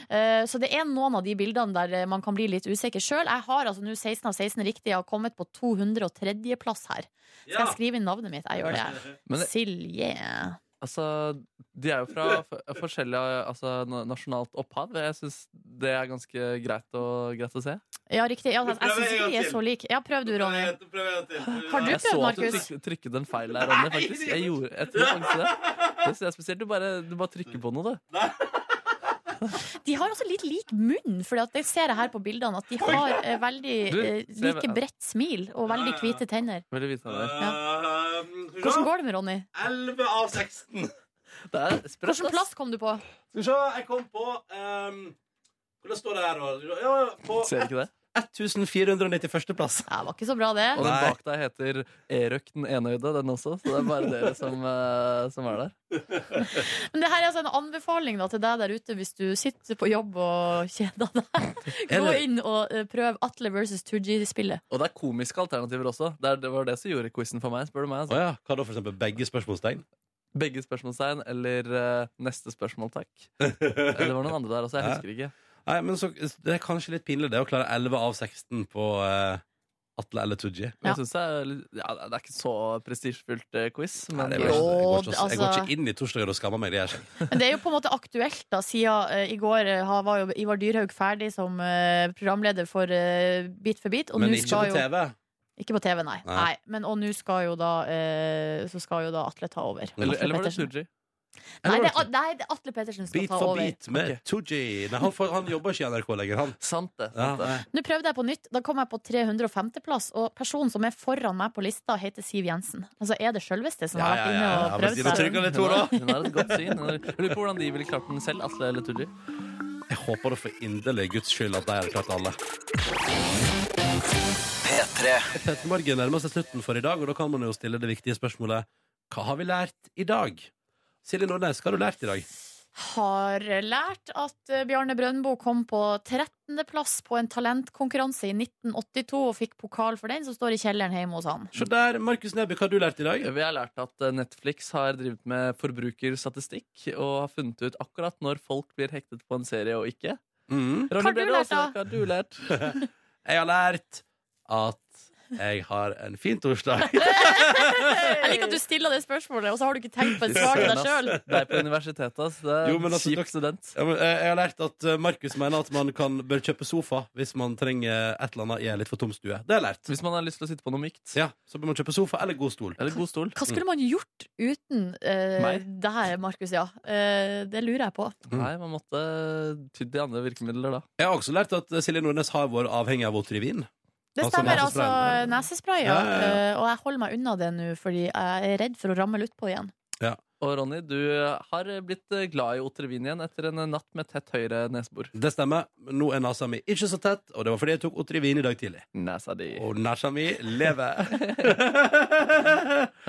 Eh, Så det er noen av de bildene der eh, man kan bli litt usikker sjøl. Jeg har altså nå 16 av 16 riktig. Jeg har kommet på 203.-plass her. Skal jeg skrive inn navnet mitt? Jeg gjør det.
Men-
Silje.
Altså, de er jo fra f- forskjellig altså, na- nasjonalt opphav. Jeg syns det er ganske greit å, greit å se.
Ja, riktig. Ja, jeg
prøver
syns
en
ikke
gang
de er
til.
så like. Ja, prøv du, Ronny. Har du
Jeg så
prøvd,
at du
Markus?
tryk, trykket en feil der, Ronny. Faktisk. Jeg, gjorde, jeg tror faktisk det. Det synes jeg er spesielt. Du bare, du bare trykker på noe, du.
De har også litt lik munn, for det ser jeg her på bildene. At de har eh, veldig
Du,
eh,
ser-
like bredt smil og veldig hvite tenner.
Veldig vite av
Eh,
det.
Hvordan går det med Ronny?
11 av 16.
Det er sprøtt,
Hvilken
ass.
plass kom du på?
Skal vi se, jeg kom på um, Hvordan står det her? da? Ja, på
Ser ikke det?
1491. plass.
Ja, det var ikke så bra, det.
Og den
Nei.
bak deg heter Erøk den enøyde, den også. Så det er bare dere som, eh, som er der.
Men det her er altså en anbefaling da, til deg der ute hvis du sitter på jobb og kjeder deg. Gå
Eller-
inn og eh, prøv Atle versus Tooji-spillet.
Og det er komiske alternativer også. Det, er, det var det som gjorde quizen for meg. spør du meg.
Å
Altså.
ja. Hva da, for eksempel? Begge spørsmålstegn?
Begge spørsmålstegn eller eh, neste spørsmål, takk. Det var noen andre der også. Jeg husker ikke.
Nei, men så, Det er kanskje litt pinlig det å klare 11 av 16 på eh, Atle eller Tooji.
Men
Ja.
jeg synes det, er, litt- ja, det er ikke så prestisjefullt eh, quiz.
Nei,
Men
det
er
går ikke- det går ikke å-
Råd,
Jeg går
altså.
ikke inn i torsdager og skammer meg. Det gjør jeg ikke.
Men det er jo på en måte aktuelt, da, siden eh, i går eh, ha- var jo Ivar Dyrhaug ferdig som eh, programleder for eh, Bit for bit. Og
Men
nå
ikke
skal
på
jo
TV.
Ikke på TV, nei.
Nei.
nei. men, og nå skal jo da eh, Så skal jo da Atle ta over.
eller, eller var det
Pettersen.
Tooji?
Nei,
Eller
det
var
er, nei, det er Atle Pettersen som skal
Bit
ta
for
over.
bit med
Ok.
Tooji. Nei, han, får- han jobber ikke i NRK lenger, han.
Sant det.
Ja,
Sant det.
nei.
Nå prøvde jeg på nytt. Da kom jeg på 350-plass. Og personen som er foran meg på lista, heter Siv Jensen. Altså er det sjølveste som har vært inne og
men
prøvd
Stina
seg.
trykker litt,
Hun,
Tora.
har, hun har et godt syn. Hun har- Jeg lurer på hvordan de ville klart den selv, Atle eller Tooji.
Jeg håper det for inderlig Guds skyld at de har klart alle. Petter Morgen nærmer seg slutten for i dag, og da kan man jo stille det viktige spørsmålet Hva har vi lært i dag? Silje Nordnes, hva har du lært i dag?
Har lært at eh, Bjarne Brøndbo kom på 13.-plass på en talentkonkurranse i 1982 og fikk pokal for den, som står i kjelleren hjemme hos han.
Se der, Markus Neby, hva har du lært i dag?
Vi har lært at eh, Netflix har drevet med forbrukerstatistikk og har funnet ut akkurat når folk blir hektet på en serie og ikke.
Mm.
Ronny, altså,
Hva har
ble
du
det
lært,
også-
da?
Hva har du lært?
Jeg har lært at Jeg har en fin torsdag.
Jeg liker at du stiller det spørsmålet, og så har du ikke tenkt på et svar til deg sjøl.
Det er på universitetet, ass. Det er
Jo, men altså,
kjip
dere-
student.
Ja, men, eh, jeg har lært at eh, Markus mener at man kan, bør kjøpe sofa hvis man trenger et eller annet i en litt for tom stue. Det har jeg lært.
Hvis man har lyst til å sitte på noe mykt.
Ja, så bør man kjøpe sofa eller god stol.
Eller god stol.
Hva skulle man gjort uten uh,
Meg?
det her, Markus? Ja. Eh, det lurer jeg på.
Mm.
Nei, man måtte tydd til andre virkemidler da.
Jeg har også lært at eh, Silje Nordnes har vært avhengig av Otrivin.
Det
Altså,
stemmer, altså.
nesesprayen.
Nesespray, ja.
Ja, ja, ja.
Eh, og jeg holder meg unna det nå, fordi jeg er redd for å ramle utpå igjen.
Og Ronny, du har blitt eh, glad i Otrevin igjen etter en natt med tett høyre nesebor.
Det stemmer. Nå er nesa mi ikke så tett, og det var fordi jeg tok Otrivin i dag tidlig.
Nesa di.
Og nesa mi lever.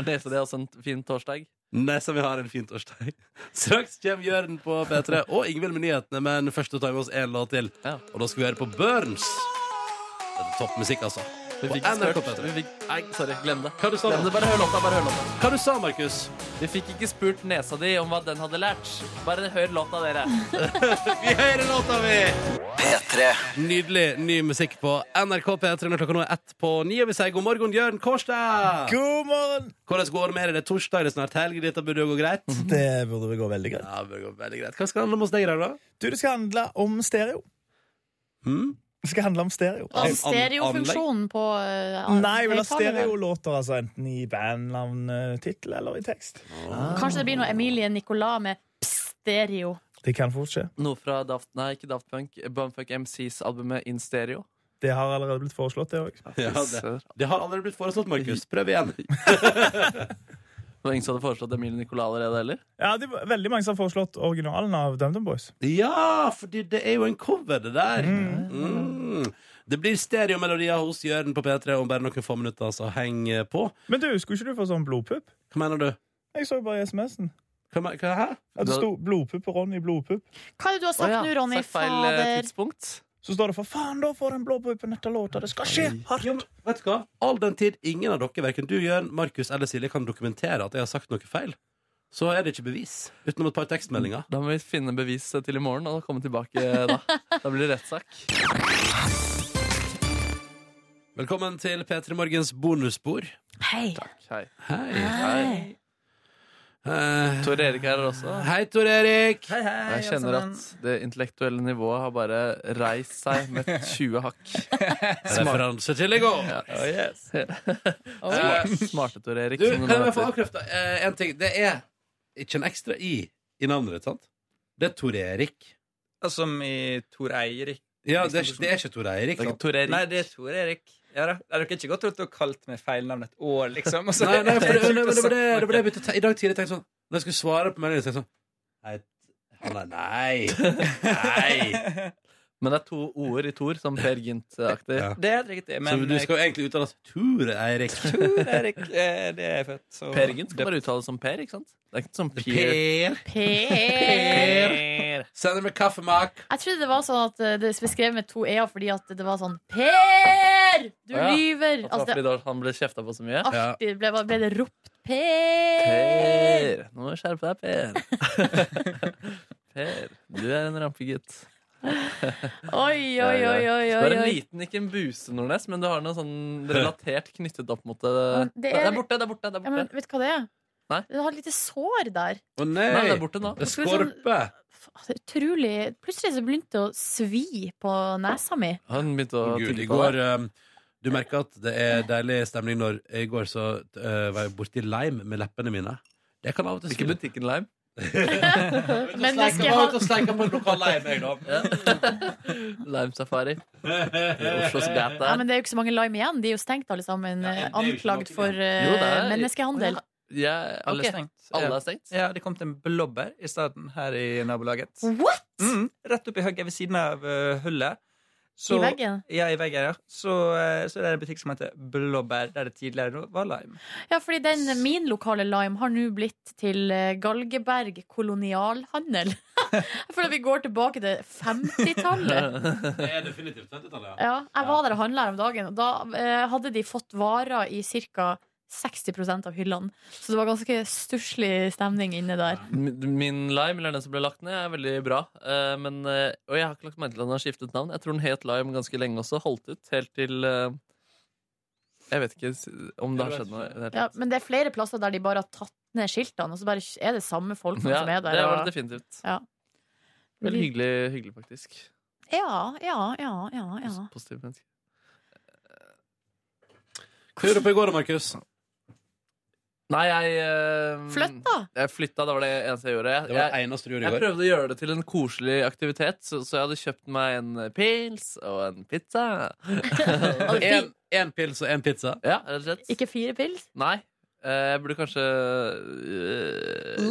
Nesa di er også en fin torsdag.
Nesa mi har en fin torsdag. Straks kommer Jørn på P3 og Ingvild med nyhetene, men først tar vi oss én låt til.
Ja.
Og da skal vi høre på Burns. Dette er toppmusikk, altså.
Vi fikk
På NRK
spurt
P3.
vi fikk, Nei, sorry, glem det.
Hva du sa du?
Glem det, Bare hør låta. bare hør låta
Hva du sa Markus?
Vi fikk ikke spurt nesa di om hva den hadde lært. Bare hør låta, dere.
Vi hører låta, vi! Nydelig ny musikk på NRK P3 når klokka nå er ett på ni. Og vi sier god morgen, Jørn Kårstad!
God morgen!
Hvordan går det med deg? Det er torsdag, det er snart helg. Dette burde jo gå greit.
Det burde vel gå veldig greit.
Ja, det burde gå veldig greit. Hva skal det handle om hos deg i dag, da?
Du, det skal handle om stereo.
Hmm?
Det skal handle om stereo.
Og
An-
Altså, stereofunksjonen på eh, an-
Nei, jeg vil ha
høyttaleren.
stereolåter, altså, enten i bandnavn, eh, tittel eller i tekst.
Kanskje det blir noe Emilie Nicolas med stereo.
Det kan fort skje.
Noe fra Daft, nei, ikke Daft Punk. Bumfuck MCs albumet In Stereo.
Det har allerede blitt foreslått, det òg.
Ja, det, det har allerede blitt foreslått, Markus. Prøv igjen.
Det var ingen som hadde foreslått Emilie Nicolas allerede heller.
Ja, det er veldig mange som har foreslått originalen av DumDum Boys.
Ja, fordi det er jo en cover, det der. Mm. Det blir stereomelodier hos Jørn på P3 om bare noen få minutter, så heng eh, på.
Men du, skulle ikke du få sånn blodpupp?
Hva mener du?
Jeg så jo bare i SMS-en.
Hva, me- hva, hæ?
At det
Da-
sto 'blodpupp' og 'Ronny blodpupp'.
Hva er det du har sagt
Å ja,
nå, Ronny?
sagt feil eh,
Fader.
tidspunkt.
Så står det 'for faen, da får den blodpuppen etter låta'. Det skal skje hardt!
Jo, men vet du hva? All den tid ingen av dere, hverken du, Jørn, Markus eller Silje, kan dokumentere at jeg har sagt noe feil, så er det ikke bevis. Utenom et par tekstmeldinger.
Da må vi finne bevis til i morgen og komme tilbake da. Da blir det rettssak.
Velkommen til P3 Morgens bonusspor.
Hei.
Hei.
Hei.
Hei.
Eh,
Tor Erik her også.
hei, Tor Erik.
Jeg kjenner at det intellektuelle nivået har bare reist seg med 20 hakk.
Referanse til i går.
Oh, Smart- Smarte Tor Erik.
Du,
som den
kan jeg
heter.
få avkrefta én ting? Det er ikke en ekstra i i navnet ditt, sant? Det er Tor Erik.
Som i Tor Eirik.
Ja, det er, ikke- det er ikke Tor Eirik.
Det er ikke
Sant?
Tor Erik.
Nei, det er Tor Erik. Ja da. Nei, Dere har ikke godt trodd å kalte meg feilnavn et år, liksom? og så-
Nei, nei, for det,
Jeg tror
nei, men det var det, det, var det jeg
det
begynte å te- I dag tidlig tenkte jeg sånn Når jeg skulle svare på meldingen, tenkte jeg sånn Nei, han er Nei! nei.
Men det er to ord i Tor, som Per Gynt-aktig.
Ja.
Det er helt riktig. Men eh,
så du skal jo egentlig uttale at Tor Eirik.
Tor Erik, eh, det er jeg født, så
Per Gynt skal bare uttales som Per, ikke sant? Det er ikke sånn som Per.
Per.
Per.
Sender med kaffemak.
Jeg trodde det var sånn at eh, det ble skrevet med to e-er fordi at det var sånn Per! Du
Å ja. At det var
lyver! Altså, det Altså,
fordi da han ble kjefta på så mye.
artig ble, ble det ropt Per!
Per! Nå må du skjerpe deg, Per. per, du er en rampegutt.
Oi, oi, oi,
Du
oi, oi.
er en
oi.
liten, ikke en buse, Nordnes, men du har noe sånn relatert knyttet opp mot det.
det
Det
er-
er borte, det er borte. det er
Ja,
borte
men vet du hva det er?
Nei.
Du har et lite sår der.
Å nei!
Nei, det er borte nå.
Det er skorpe.
Det er Utrolig Plutselig så begynte det å svi på nesa mi.
Han begynte å
Å, Gud, i
tygge på
går
deg.
um, Du merker at det er deilig stemning når I går så eh, var jeg borti lime med leppene mine. Det kan av og til
Ikke butikken Lime.
Men det skal jeg ha
steika på en lokal lime, jeg, da.
Lime Safari. I Oslos gate
ja,
der.
men Det er jo ikke så mange lime igjen. De er jo stengt, alle sammen.
Ja, det er jo ikke
Anklagd
mange
for eh,
Jo, det er-
menneskehandel.
Ja,
Alle
ok.
er stengt.
Alle
Ja.
er stengt?
Ja, det kom til en blåbær i stedet her i nabolaget.
What?!
Mm, rett oppi hugget ved siden av eh, hullet.
I
Så,
veggen.
ja, i veggen, ja. Så, eh, så det er en butikk som heter Blåbær, der det tidligere var lime.
Ja, fordi den, min lokale lime har nå blitt til eh, Galgeberg kolonialhandel. Jeg føler at vi går tilbake til 50-tallet.
Det er definitivt 50-tallet,
Ja, jeg var der og handla her om dagen, og da eh, hadde de fått varer i ca. 60 av hyllene. Så det var ganske stusslig stemning inne der.
Min min Lime, eller den som ble lagt ned, er veldig bra. Eh, Men, eh, og jeg har ikke lagt merke til at den har skiftet navn. Jeg tror den het Lime ganske lenge også. Holdt ut helt til eh, Jeg vet ikke s- om det har skjedd noe. i det hele
Ja,
tatt.
men det er flere plasser der de bare har tatt ned skiltene, og så bare er det samme folkene
Ja,
som er der.
det var
og-
det definitivt.
Ja.
Veldig hyggelig, hyggelig faktisk.
Ja, ja, ja, ja, ja.
Positivt menneske.
Hva gjorde du på i går, Markus?
Nei, jeg eh,
Flytta?
Jeg flytta, det var det eneste jeg gjorde. Jeg,
Det var det eneste du gjorde i
jeg
går.
prøvde å gjøre det til en koselig aktivitet, så, så jeg hadde kjøpt meg en pils og en pizza.
En- en pils og en pizza?
Ja, rett og slett.
Ikke fire pils?
Nei. Eh, Jeg burde kanskje eh,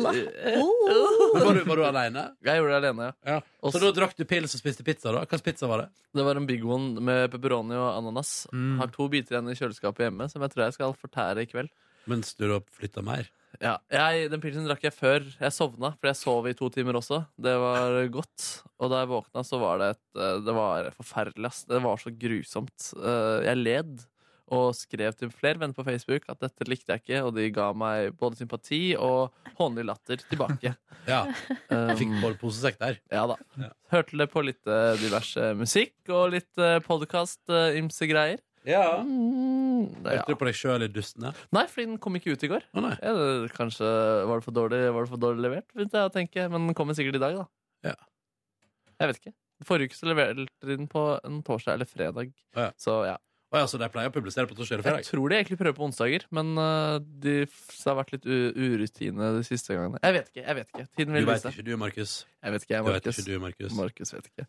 Var du, var du alene?
Jeg gjorde det alene,
ja. Så da drakk du pils og spiste pizza, da? Hvilken pizza var det?
Det var en big one med pepperoni og ananas.
Mm.
Har to biter igjen i kjøleskapet hjemme, som jeg tror jeg skal fortære i kveld.
Mens du da flytta mer?
Ja, jeg, Den pilsen drakk jeg før jeg sovna, for jeg sov i to timer også. Det var godt. Og da jeg våkna, så var det et eh, Det var forferdelig, ass. Det var så grusomt. Eh, Jeg led og skrev til flere venner på Facebook at dette likte jeg ikke, og de ga meg både sympati og hånlig latter tilbake.
Ja.
Um,
Fikk bare posesekk der.
Ja da. Hørte det på litt eh, diverse musikk og litt eh, podkast-ymse greier. Mm,
Ja.
ja.
Hørte du på deg sjøl i dustene?
Nei, fordi den kom ikke ut i går. Ja, det- kanskje var det for dårlig, var det for dårlig levert, begynte jeg å tenke. Men den kommer sikkert i dag, da. Jeg vet ikke. Forrige uke så leverte de den på en torsdag eller fredag. Så ja.
Å ja, så de pleier å publisere på torsdag eller fredag?
Jeg tror de egentlig prøver på onsdager, men eh, de, det har vært litt u urutine de siste gangene. Jeg vet ikke. jeg vet ikke Tiden vil
Du vet
vise.
ikke du, Markus.
Jeg vet ikke, jeg,
Du vet
Markus.
ikke du, Markus.
Markus vet ikke.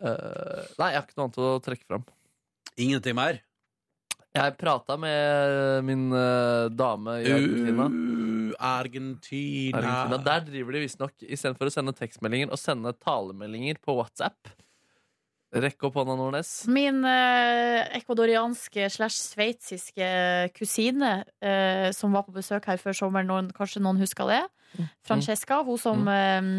Eh, nei, jeg har ikke noe annet å trekke fram.
Ingenting mer?
Jeg prata med min eh, dame i Argentina.
Argentina.
Argentina. Der driver de visstnok istedenfor å sende tekstmeldinger og sende talemeldinger på WhatsApp. Rekk opp hånda, Nordnes.
Min eh, ekvadorianske slash sveitsiske kusine eh, som var på besøk her før sommeren, noen, kanskje noen husker det. Francesca, hun som eh,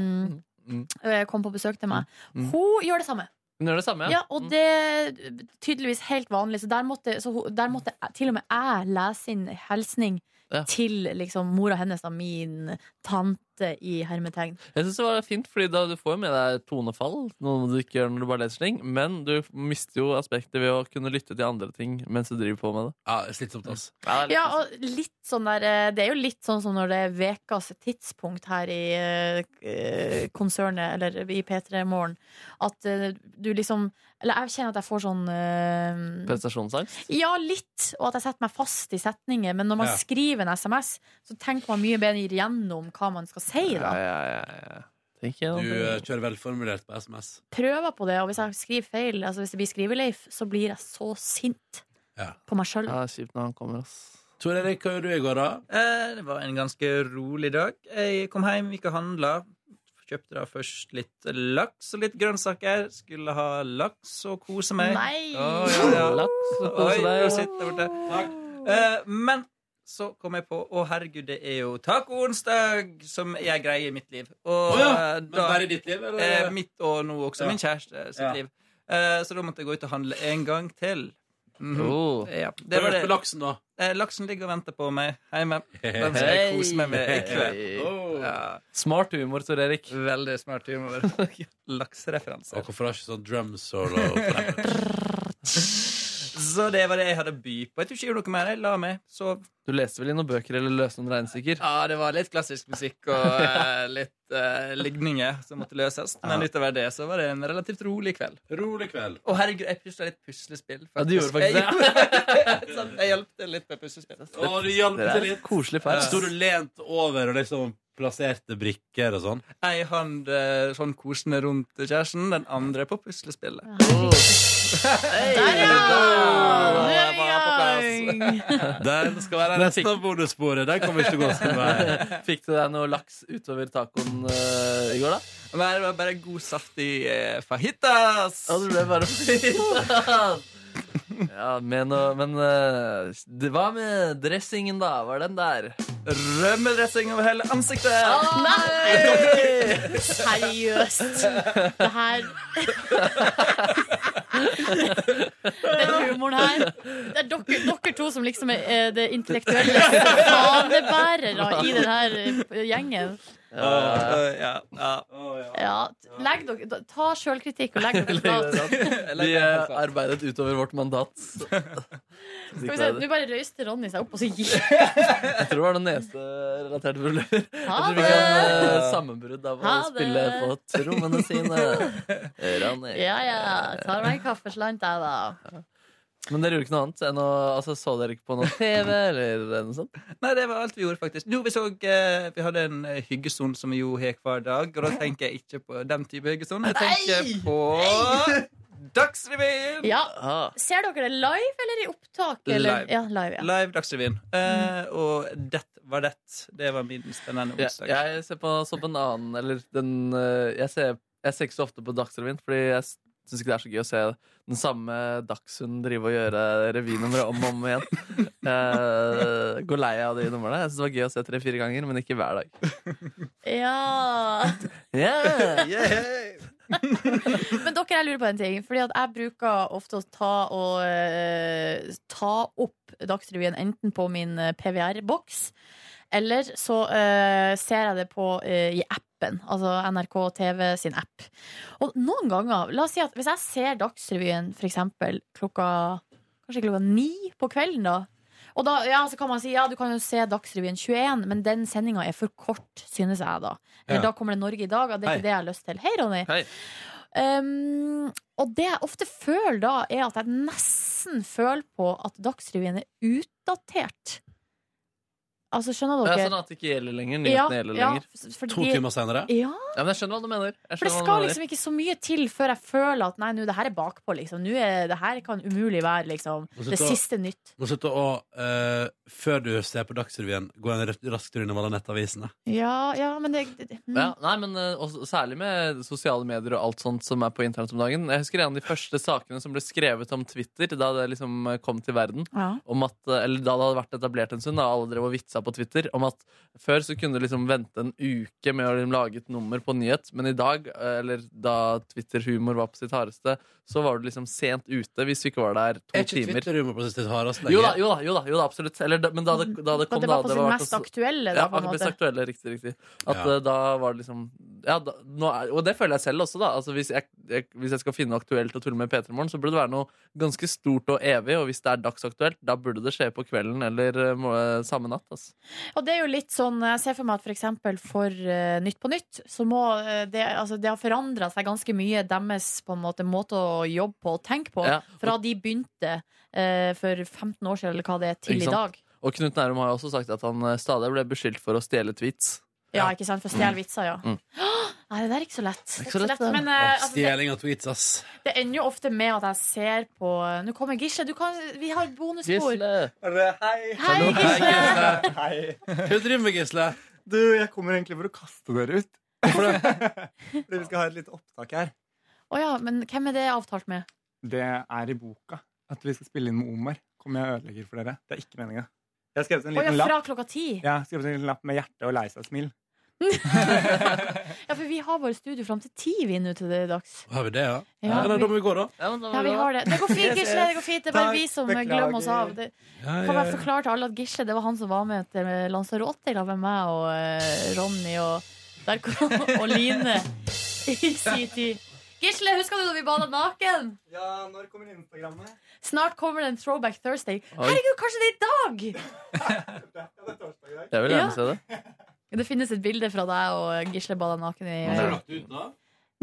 eh, kom på besøk til meg. Hun gjør det samme.
Hun gjør det samme,
Ja, og det er tydeligvis helt vanlig. Så der måtte, så hun- der måtte jeg- til og med jeg lese inn hilsning til liksom mora hennes, da, min tante i hermetegn.
Jeg synes det var fint, fordi da du får jo med deg tonefall, noe du ikke gjør når du bare leser ting, men du mister jo aspektet ved å kunne lytte til andre ting mens du driver på med det.
Ja, slitsomt, ass.
Ja, og litt sånn der eh, Det er jo litt sånn som når det er ukas tidspunkt her i eh, konsernet, eller i P3 Morgen, at eh, du liksom Eller jeg kjenner at jeg får sånn eh,
Prestasjonsangst.
Ja, litt, og at jeg setter meg fast i setninger. Men når man
Ja.
skriver en SMS, så tenker man mye bedre gjennom hva man skal si.
Ja,
Da.
Du eh, kjører velformulert på SMS.
Prøver på det, og hvis jeg skriver feil, altså hvis det blir skriveleif, så blir jeg så sint
Ja.
på meg sjøl.
Ja, kjipt når han kommer, ass.
Tor Erik, hva gjorde du i går, da?
Eh, Det var en ganske rolig dag. Jeg kom hjem, gikk og handla. Kjøpte da først litt laks og litt grønnsaker. Skulle ha laks og kose meg.
Nei!
Å, ja, ja.
Laks og
Oi,
kose deg.
du sitter der borte. Eh, Men så kom jeg på å herregud, det er jo taco-onsdag som jeg Eh, greier i mitt liv.
Å,
Og,
ja.
eh,
Men bare i ditt liv, eller?
Eh, Mitt og nå også
Ja.
min kjæreste sitt
Ja.
liv. Eh, Så da måtte jeg gå ut og handle en gang til. Mhm.
Oh.
Ja, det
Hva
var
gjør
det.
du på laksen, da?
Eh, Laksen ligger og venter på meg hjemme. Den skal jeg kose meg med i kveld. Ja.
Smart humor, Tor Erik.
Veldig smart humor. Laksereferanse.
Og hvorfor har ikke sånn drum solo?
Så det var det jeg hadde å by på. Jeg tror ikke jeg gjorde noe mer. Jeg la meg, sov.
Du leste vel i noen bøker eller løste noen regnestikker?
Ja, det var litt klassisk musikk og eh, litt eh, ligninger som måtte løses. Men utover det så var det en relativt rolig kveld.
Rolig kveld.
Å, herregud, jeg pusla litt puslespill.
Ja, du gjorde faktisk
det. Jeg, jeg hjalp til litt med puslespill. altså.
Å, du hjalp
Det
til
er
litt.
koselig ferd.
Sto du lent over og liksom plasserte brikker og sånn?
Ei hånd eh, sånn kosende rundt kjæresten, den andre på puslespillet.
Der, ja!
Nå
er vi
Den skal være resten av bonussporet. Den kommer ikke til å gå eh, sin vei.
Fikk du deg noe laks utover tacoen eh, i går, da?
Nei, det var bare god, saftig eh, fajitas.
Ja, det ble bare fajitas. Ja, men, eh, men eh, det- hva med dressingen, da? Var den der?
Rømmedressing over hele ansiktet.
Nei! Seriøst. Det her Den humoren her. Det er dere, dere to som liksom er eh, det intellektuelle fanebærere i den her eh, gjengen.
Åh, øh, ja, ja.
Ja, t- legg dere, da- ta sjølkritikk og legg dere flat.
Vi eh, arbeidet utover vårt mandat.
Skal vi se, Nå
Jeg
bare røyste Ronny seg opp, og så gikk
tror det var noen neserelaterte problemer. Jeg tror vi
det!
kan eh, sammenbrudd av å
Ha det!
spille på trommene sine. Ronny.
Ja, ja. Ta meg en kaffeslant, jeg, da.
Men dere gjorde ikke noe annet enn å altså, Så dere ikke på noe TV eller noe sånt?
Nei, det var alt vi gjorde, faktisk. Jo, vi, så, eh, vi hadde en eh, hyggesone som vi jo har hver dag. Og da tenker jeg ikke på den type hyggesone. Jeg tenker på Dagsrevyen!
Ja. Ser dere det live eller i opptak? Eller?
Live.
Ja, live, ja.
Live Dagsrevyen. Eh, og det var det. Det var min spennende
Ja,
onsdag.
jeg ser på så på en annen Eller den eh, jeg ser, jeg ser ikke så ofte på Dagsrevyen, fordi jeg syns ikke det er så gøy å se den samme Dagshund drive og gjøre revynummeret om og om igjen. Uh, går lei av de numrene. Jeg syns det var gøy å se tre-fire ganger, men ikke hver dag.
Ja
Yeah.
Men dere, jeg lurer på en ting. Fordi at jeg bruker ofte å ta, og, eh, ta opp Dagsrevyen enten på min eh, PVR-boks, eller så eh, ser jeg det på eh, i appen. Altså NRK TV sin app. Og noen ganger, la oss si at hvis jeg ser Dagsrevyen for eksempel klokka Kanskje klokka ni på kvelden, da. Og da ja, så kan man si ja, du kan jo se Dagsrevyen 21, men den sendinga er for kort, synes jeg da. Eller
Ja.
da kommer det Norge i dag, og det er
Hei.
ikke det jeg har lyst til. Hei, Ronny. Um, og det jeg ofte føler da, er at jeg nesten føler på at Dagsrevyen er utdatert. Altså, skjønner
Det
dere?
er sånn at det ikke gjelder lenger. Nyhetene
Ja,
gjelder
ja,
lenger.
f- fordi- To timer senere? Ja.
men jeg skjønner hva du mener. Jeg
For det
skjønner hva du
skal
mener.
liksom ikke så mye til før jeg føler at nei, nå, det her er bakpå, liksom. Nå er, det her kan umulig være liksom,
Og så
det
ta-
siste nytt.
Må slutte å, eh, før du ser på Dagsrevyen, gå en r- rask tur innom alle nettavisene.
Ja, ja, men det, det mm.
Ja, nei, men eh, også, Særlig med sosiale medier og alt sånt som er på internett om dagen. Jeg husker en av de første sakene som ble skrevet om Twitter da det liksom eh, kom til verden.
Ja.
Om at, eh, eller da det hadde vært etablert en stund, da alle drev og vitsa på Twitter om at før så kunne du liksom vente en uke med å liksom lage et nummer på en nyhet, men i dag, eh, eller da Twitter-humor var på sitt hardeste, så var du liksom sent ute hvis du ikke var der to
Er ikke
timer.
Twitter-humor på sitt hardeste
Jo da, jo da, jo da, jo da absolutt. Eller, da- men da det, da det kom, Sånn
det
da
var på sitt
vært
mest
også-
aktuelle, da,
ja,
på en
mest
måte.
aktuelle, riktig, riktig. At
Ja.
eh, da var det liksom ja, da, nå er, Og det føler jeg selv også, da. Altså, hvis, jeg, jeg, hvis jeg skal finne noe aktuelt å tulle med i P3 Morgen, så burde det være noe ganske stort og evig. Og hvis det er dagsaktuelt, da burde det skje på kvelden eller eh, må- samme natt. Altså.
Og det er jo litt sånn, jeg ser for meg at for eksempel for eh, Nytt på Nytt, så må eh, det, altså det har forandret seg ganske mye deres på en måte, måte å jobbe på og tenke på,
Ja.
fra de begynte eh, for 15 år siden, eller hva det er, til
Ikke
i
sant?
dag.
Og Knut Nærum har jo også sagt at han eh, stadig ble beskyldt for å stjele tweets.
Ja, ikke sant? For å stjele vitser, ja.
Mm.
Nei, det der er ikke så lett. Det er ikke så lett,
det.
Men eh, altså, det,
Stjeling av tweets, ass.
det ender jo ofte med at jeg ser på Nå kommer Gisle, du kan, vi har bonusspor.
Hei,
Hei, Gisle!
Hva driver med, Gisle?
Du, jeg kommer egentlig for å kaste dere ut. Fordi vi skal ha et lite opptak her.
Å ja, men hvem er det avtalt med?
Det er i boka at vi skal spille inn med Omar. Kommer jeg og ødelegger for dere. Det er ikke meninga. Jeg har skrevet en
Å ja,
liten
fra
lapp.
klokka ti.
Jeg har skrevet en liten lapp med hjerte og lei seg-smil.
Ja, for vi har våre studio fram til ti, vi nå til det dags.
Har vi det, ja?
Ja.
ja. men Da må vi gå, da.
Ja, vi har det. Det går fint,
Yes,
Gisle.
yes.
Det går fint. Det er bare
Takk,
vi som
beklager.
glemmer oss av. Det
Ja,
kan
ja,
bare
ja.
forklare til alle at Gisle det var han som var med til Lanzarote sammen med meg og eh, Ronny og, der kom, og Line i sin tid. Gisle, husker du da vi bada naken?
Ja, når kommer Instagrammet?
Snart kommer det en Throwback Thursday.
Oi.
Herregud, kanskje det er i dag!
Jeg vil
Ja.
gjerne se det.
Det finnes et bilde fra deg og Gisle bada naken i
Har du lagt
det ut, da?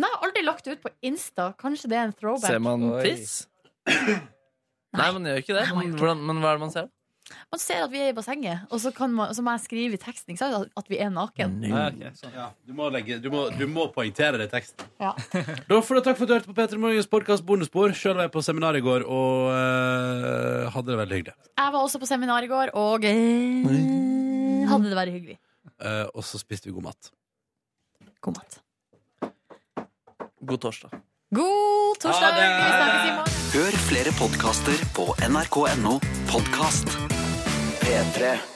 Nei, aldri lagt det ut på Insta. Kanskje det er en throwback.
Ser man tiss? Nei, man gjør ikke det. Men, hvordan, men hva er det man ser?
Man ser at vi er i bassenget, og så, kan man, så må jeg skrive i teksten ikke sant, at vi er
Mm.
naken.
Ja, ok, sånn. Ja, du, må legge, du, må, du må poengtere det i teksten.
Ja.
Da får du takk for at du hørte på Peter Morgens podkast Bonusspor. Sjøl var jeg på seminar i går og eh, hadde det veldig hyggelig.
Jeg var også på seminar i går, og eh, hadde det vært hyggelig.
Eh, og så spiste vi god mat.
God mat.
God torsdag.
God
Ha
torsdag!
det!
Vi snakkes i morgen.
Hør flere podkaster på nrk.no podkast. P3.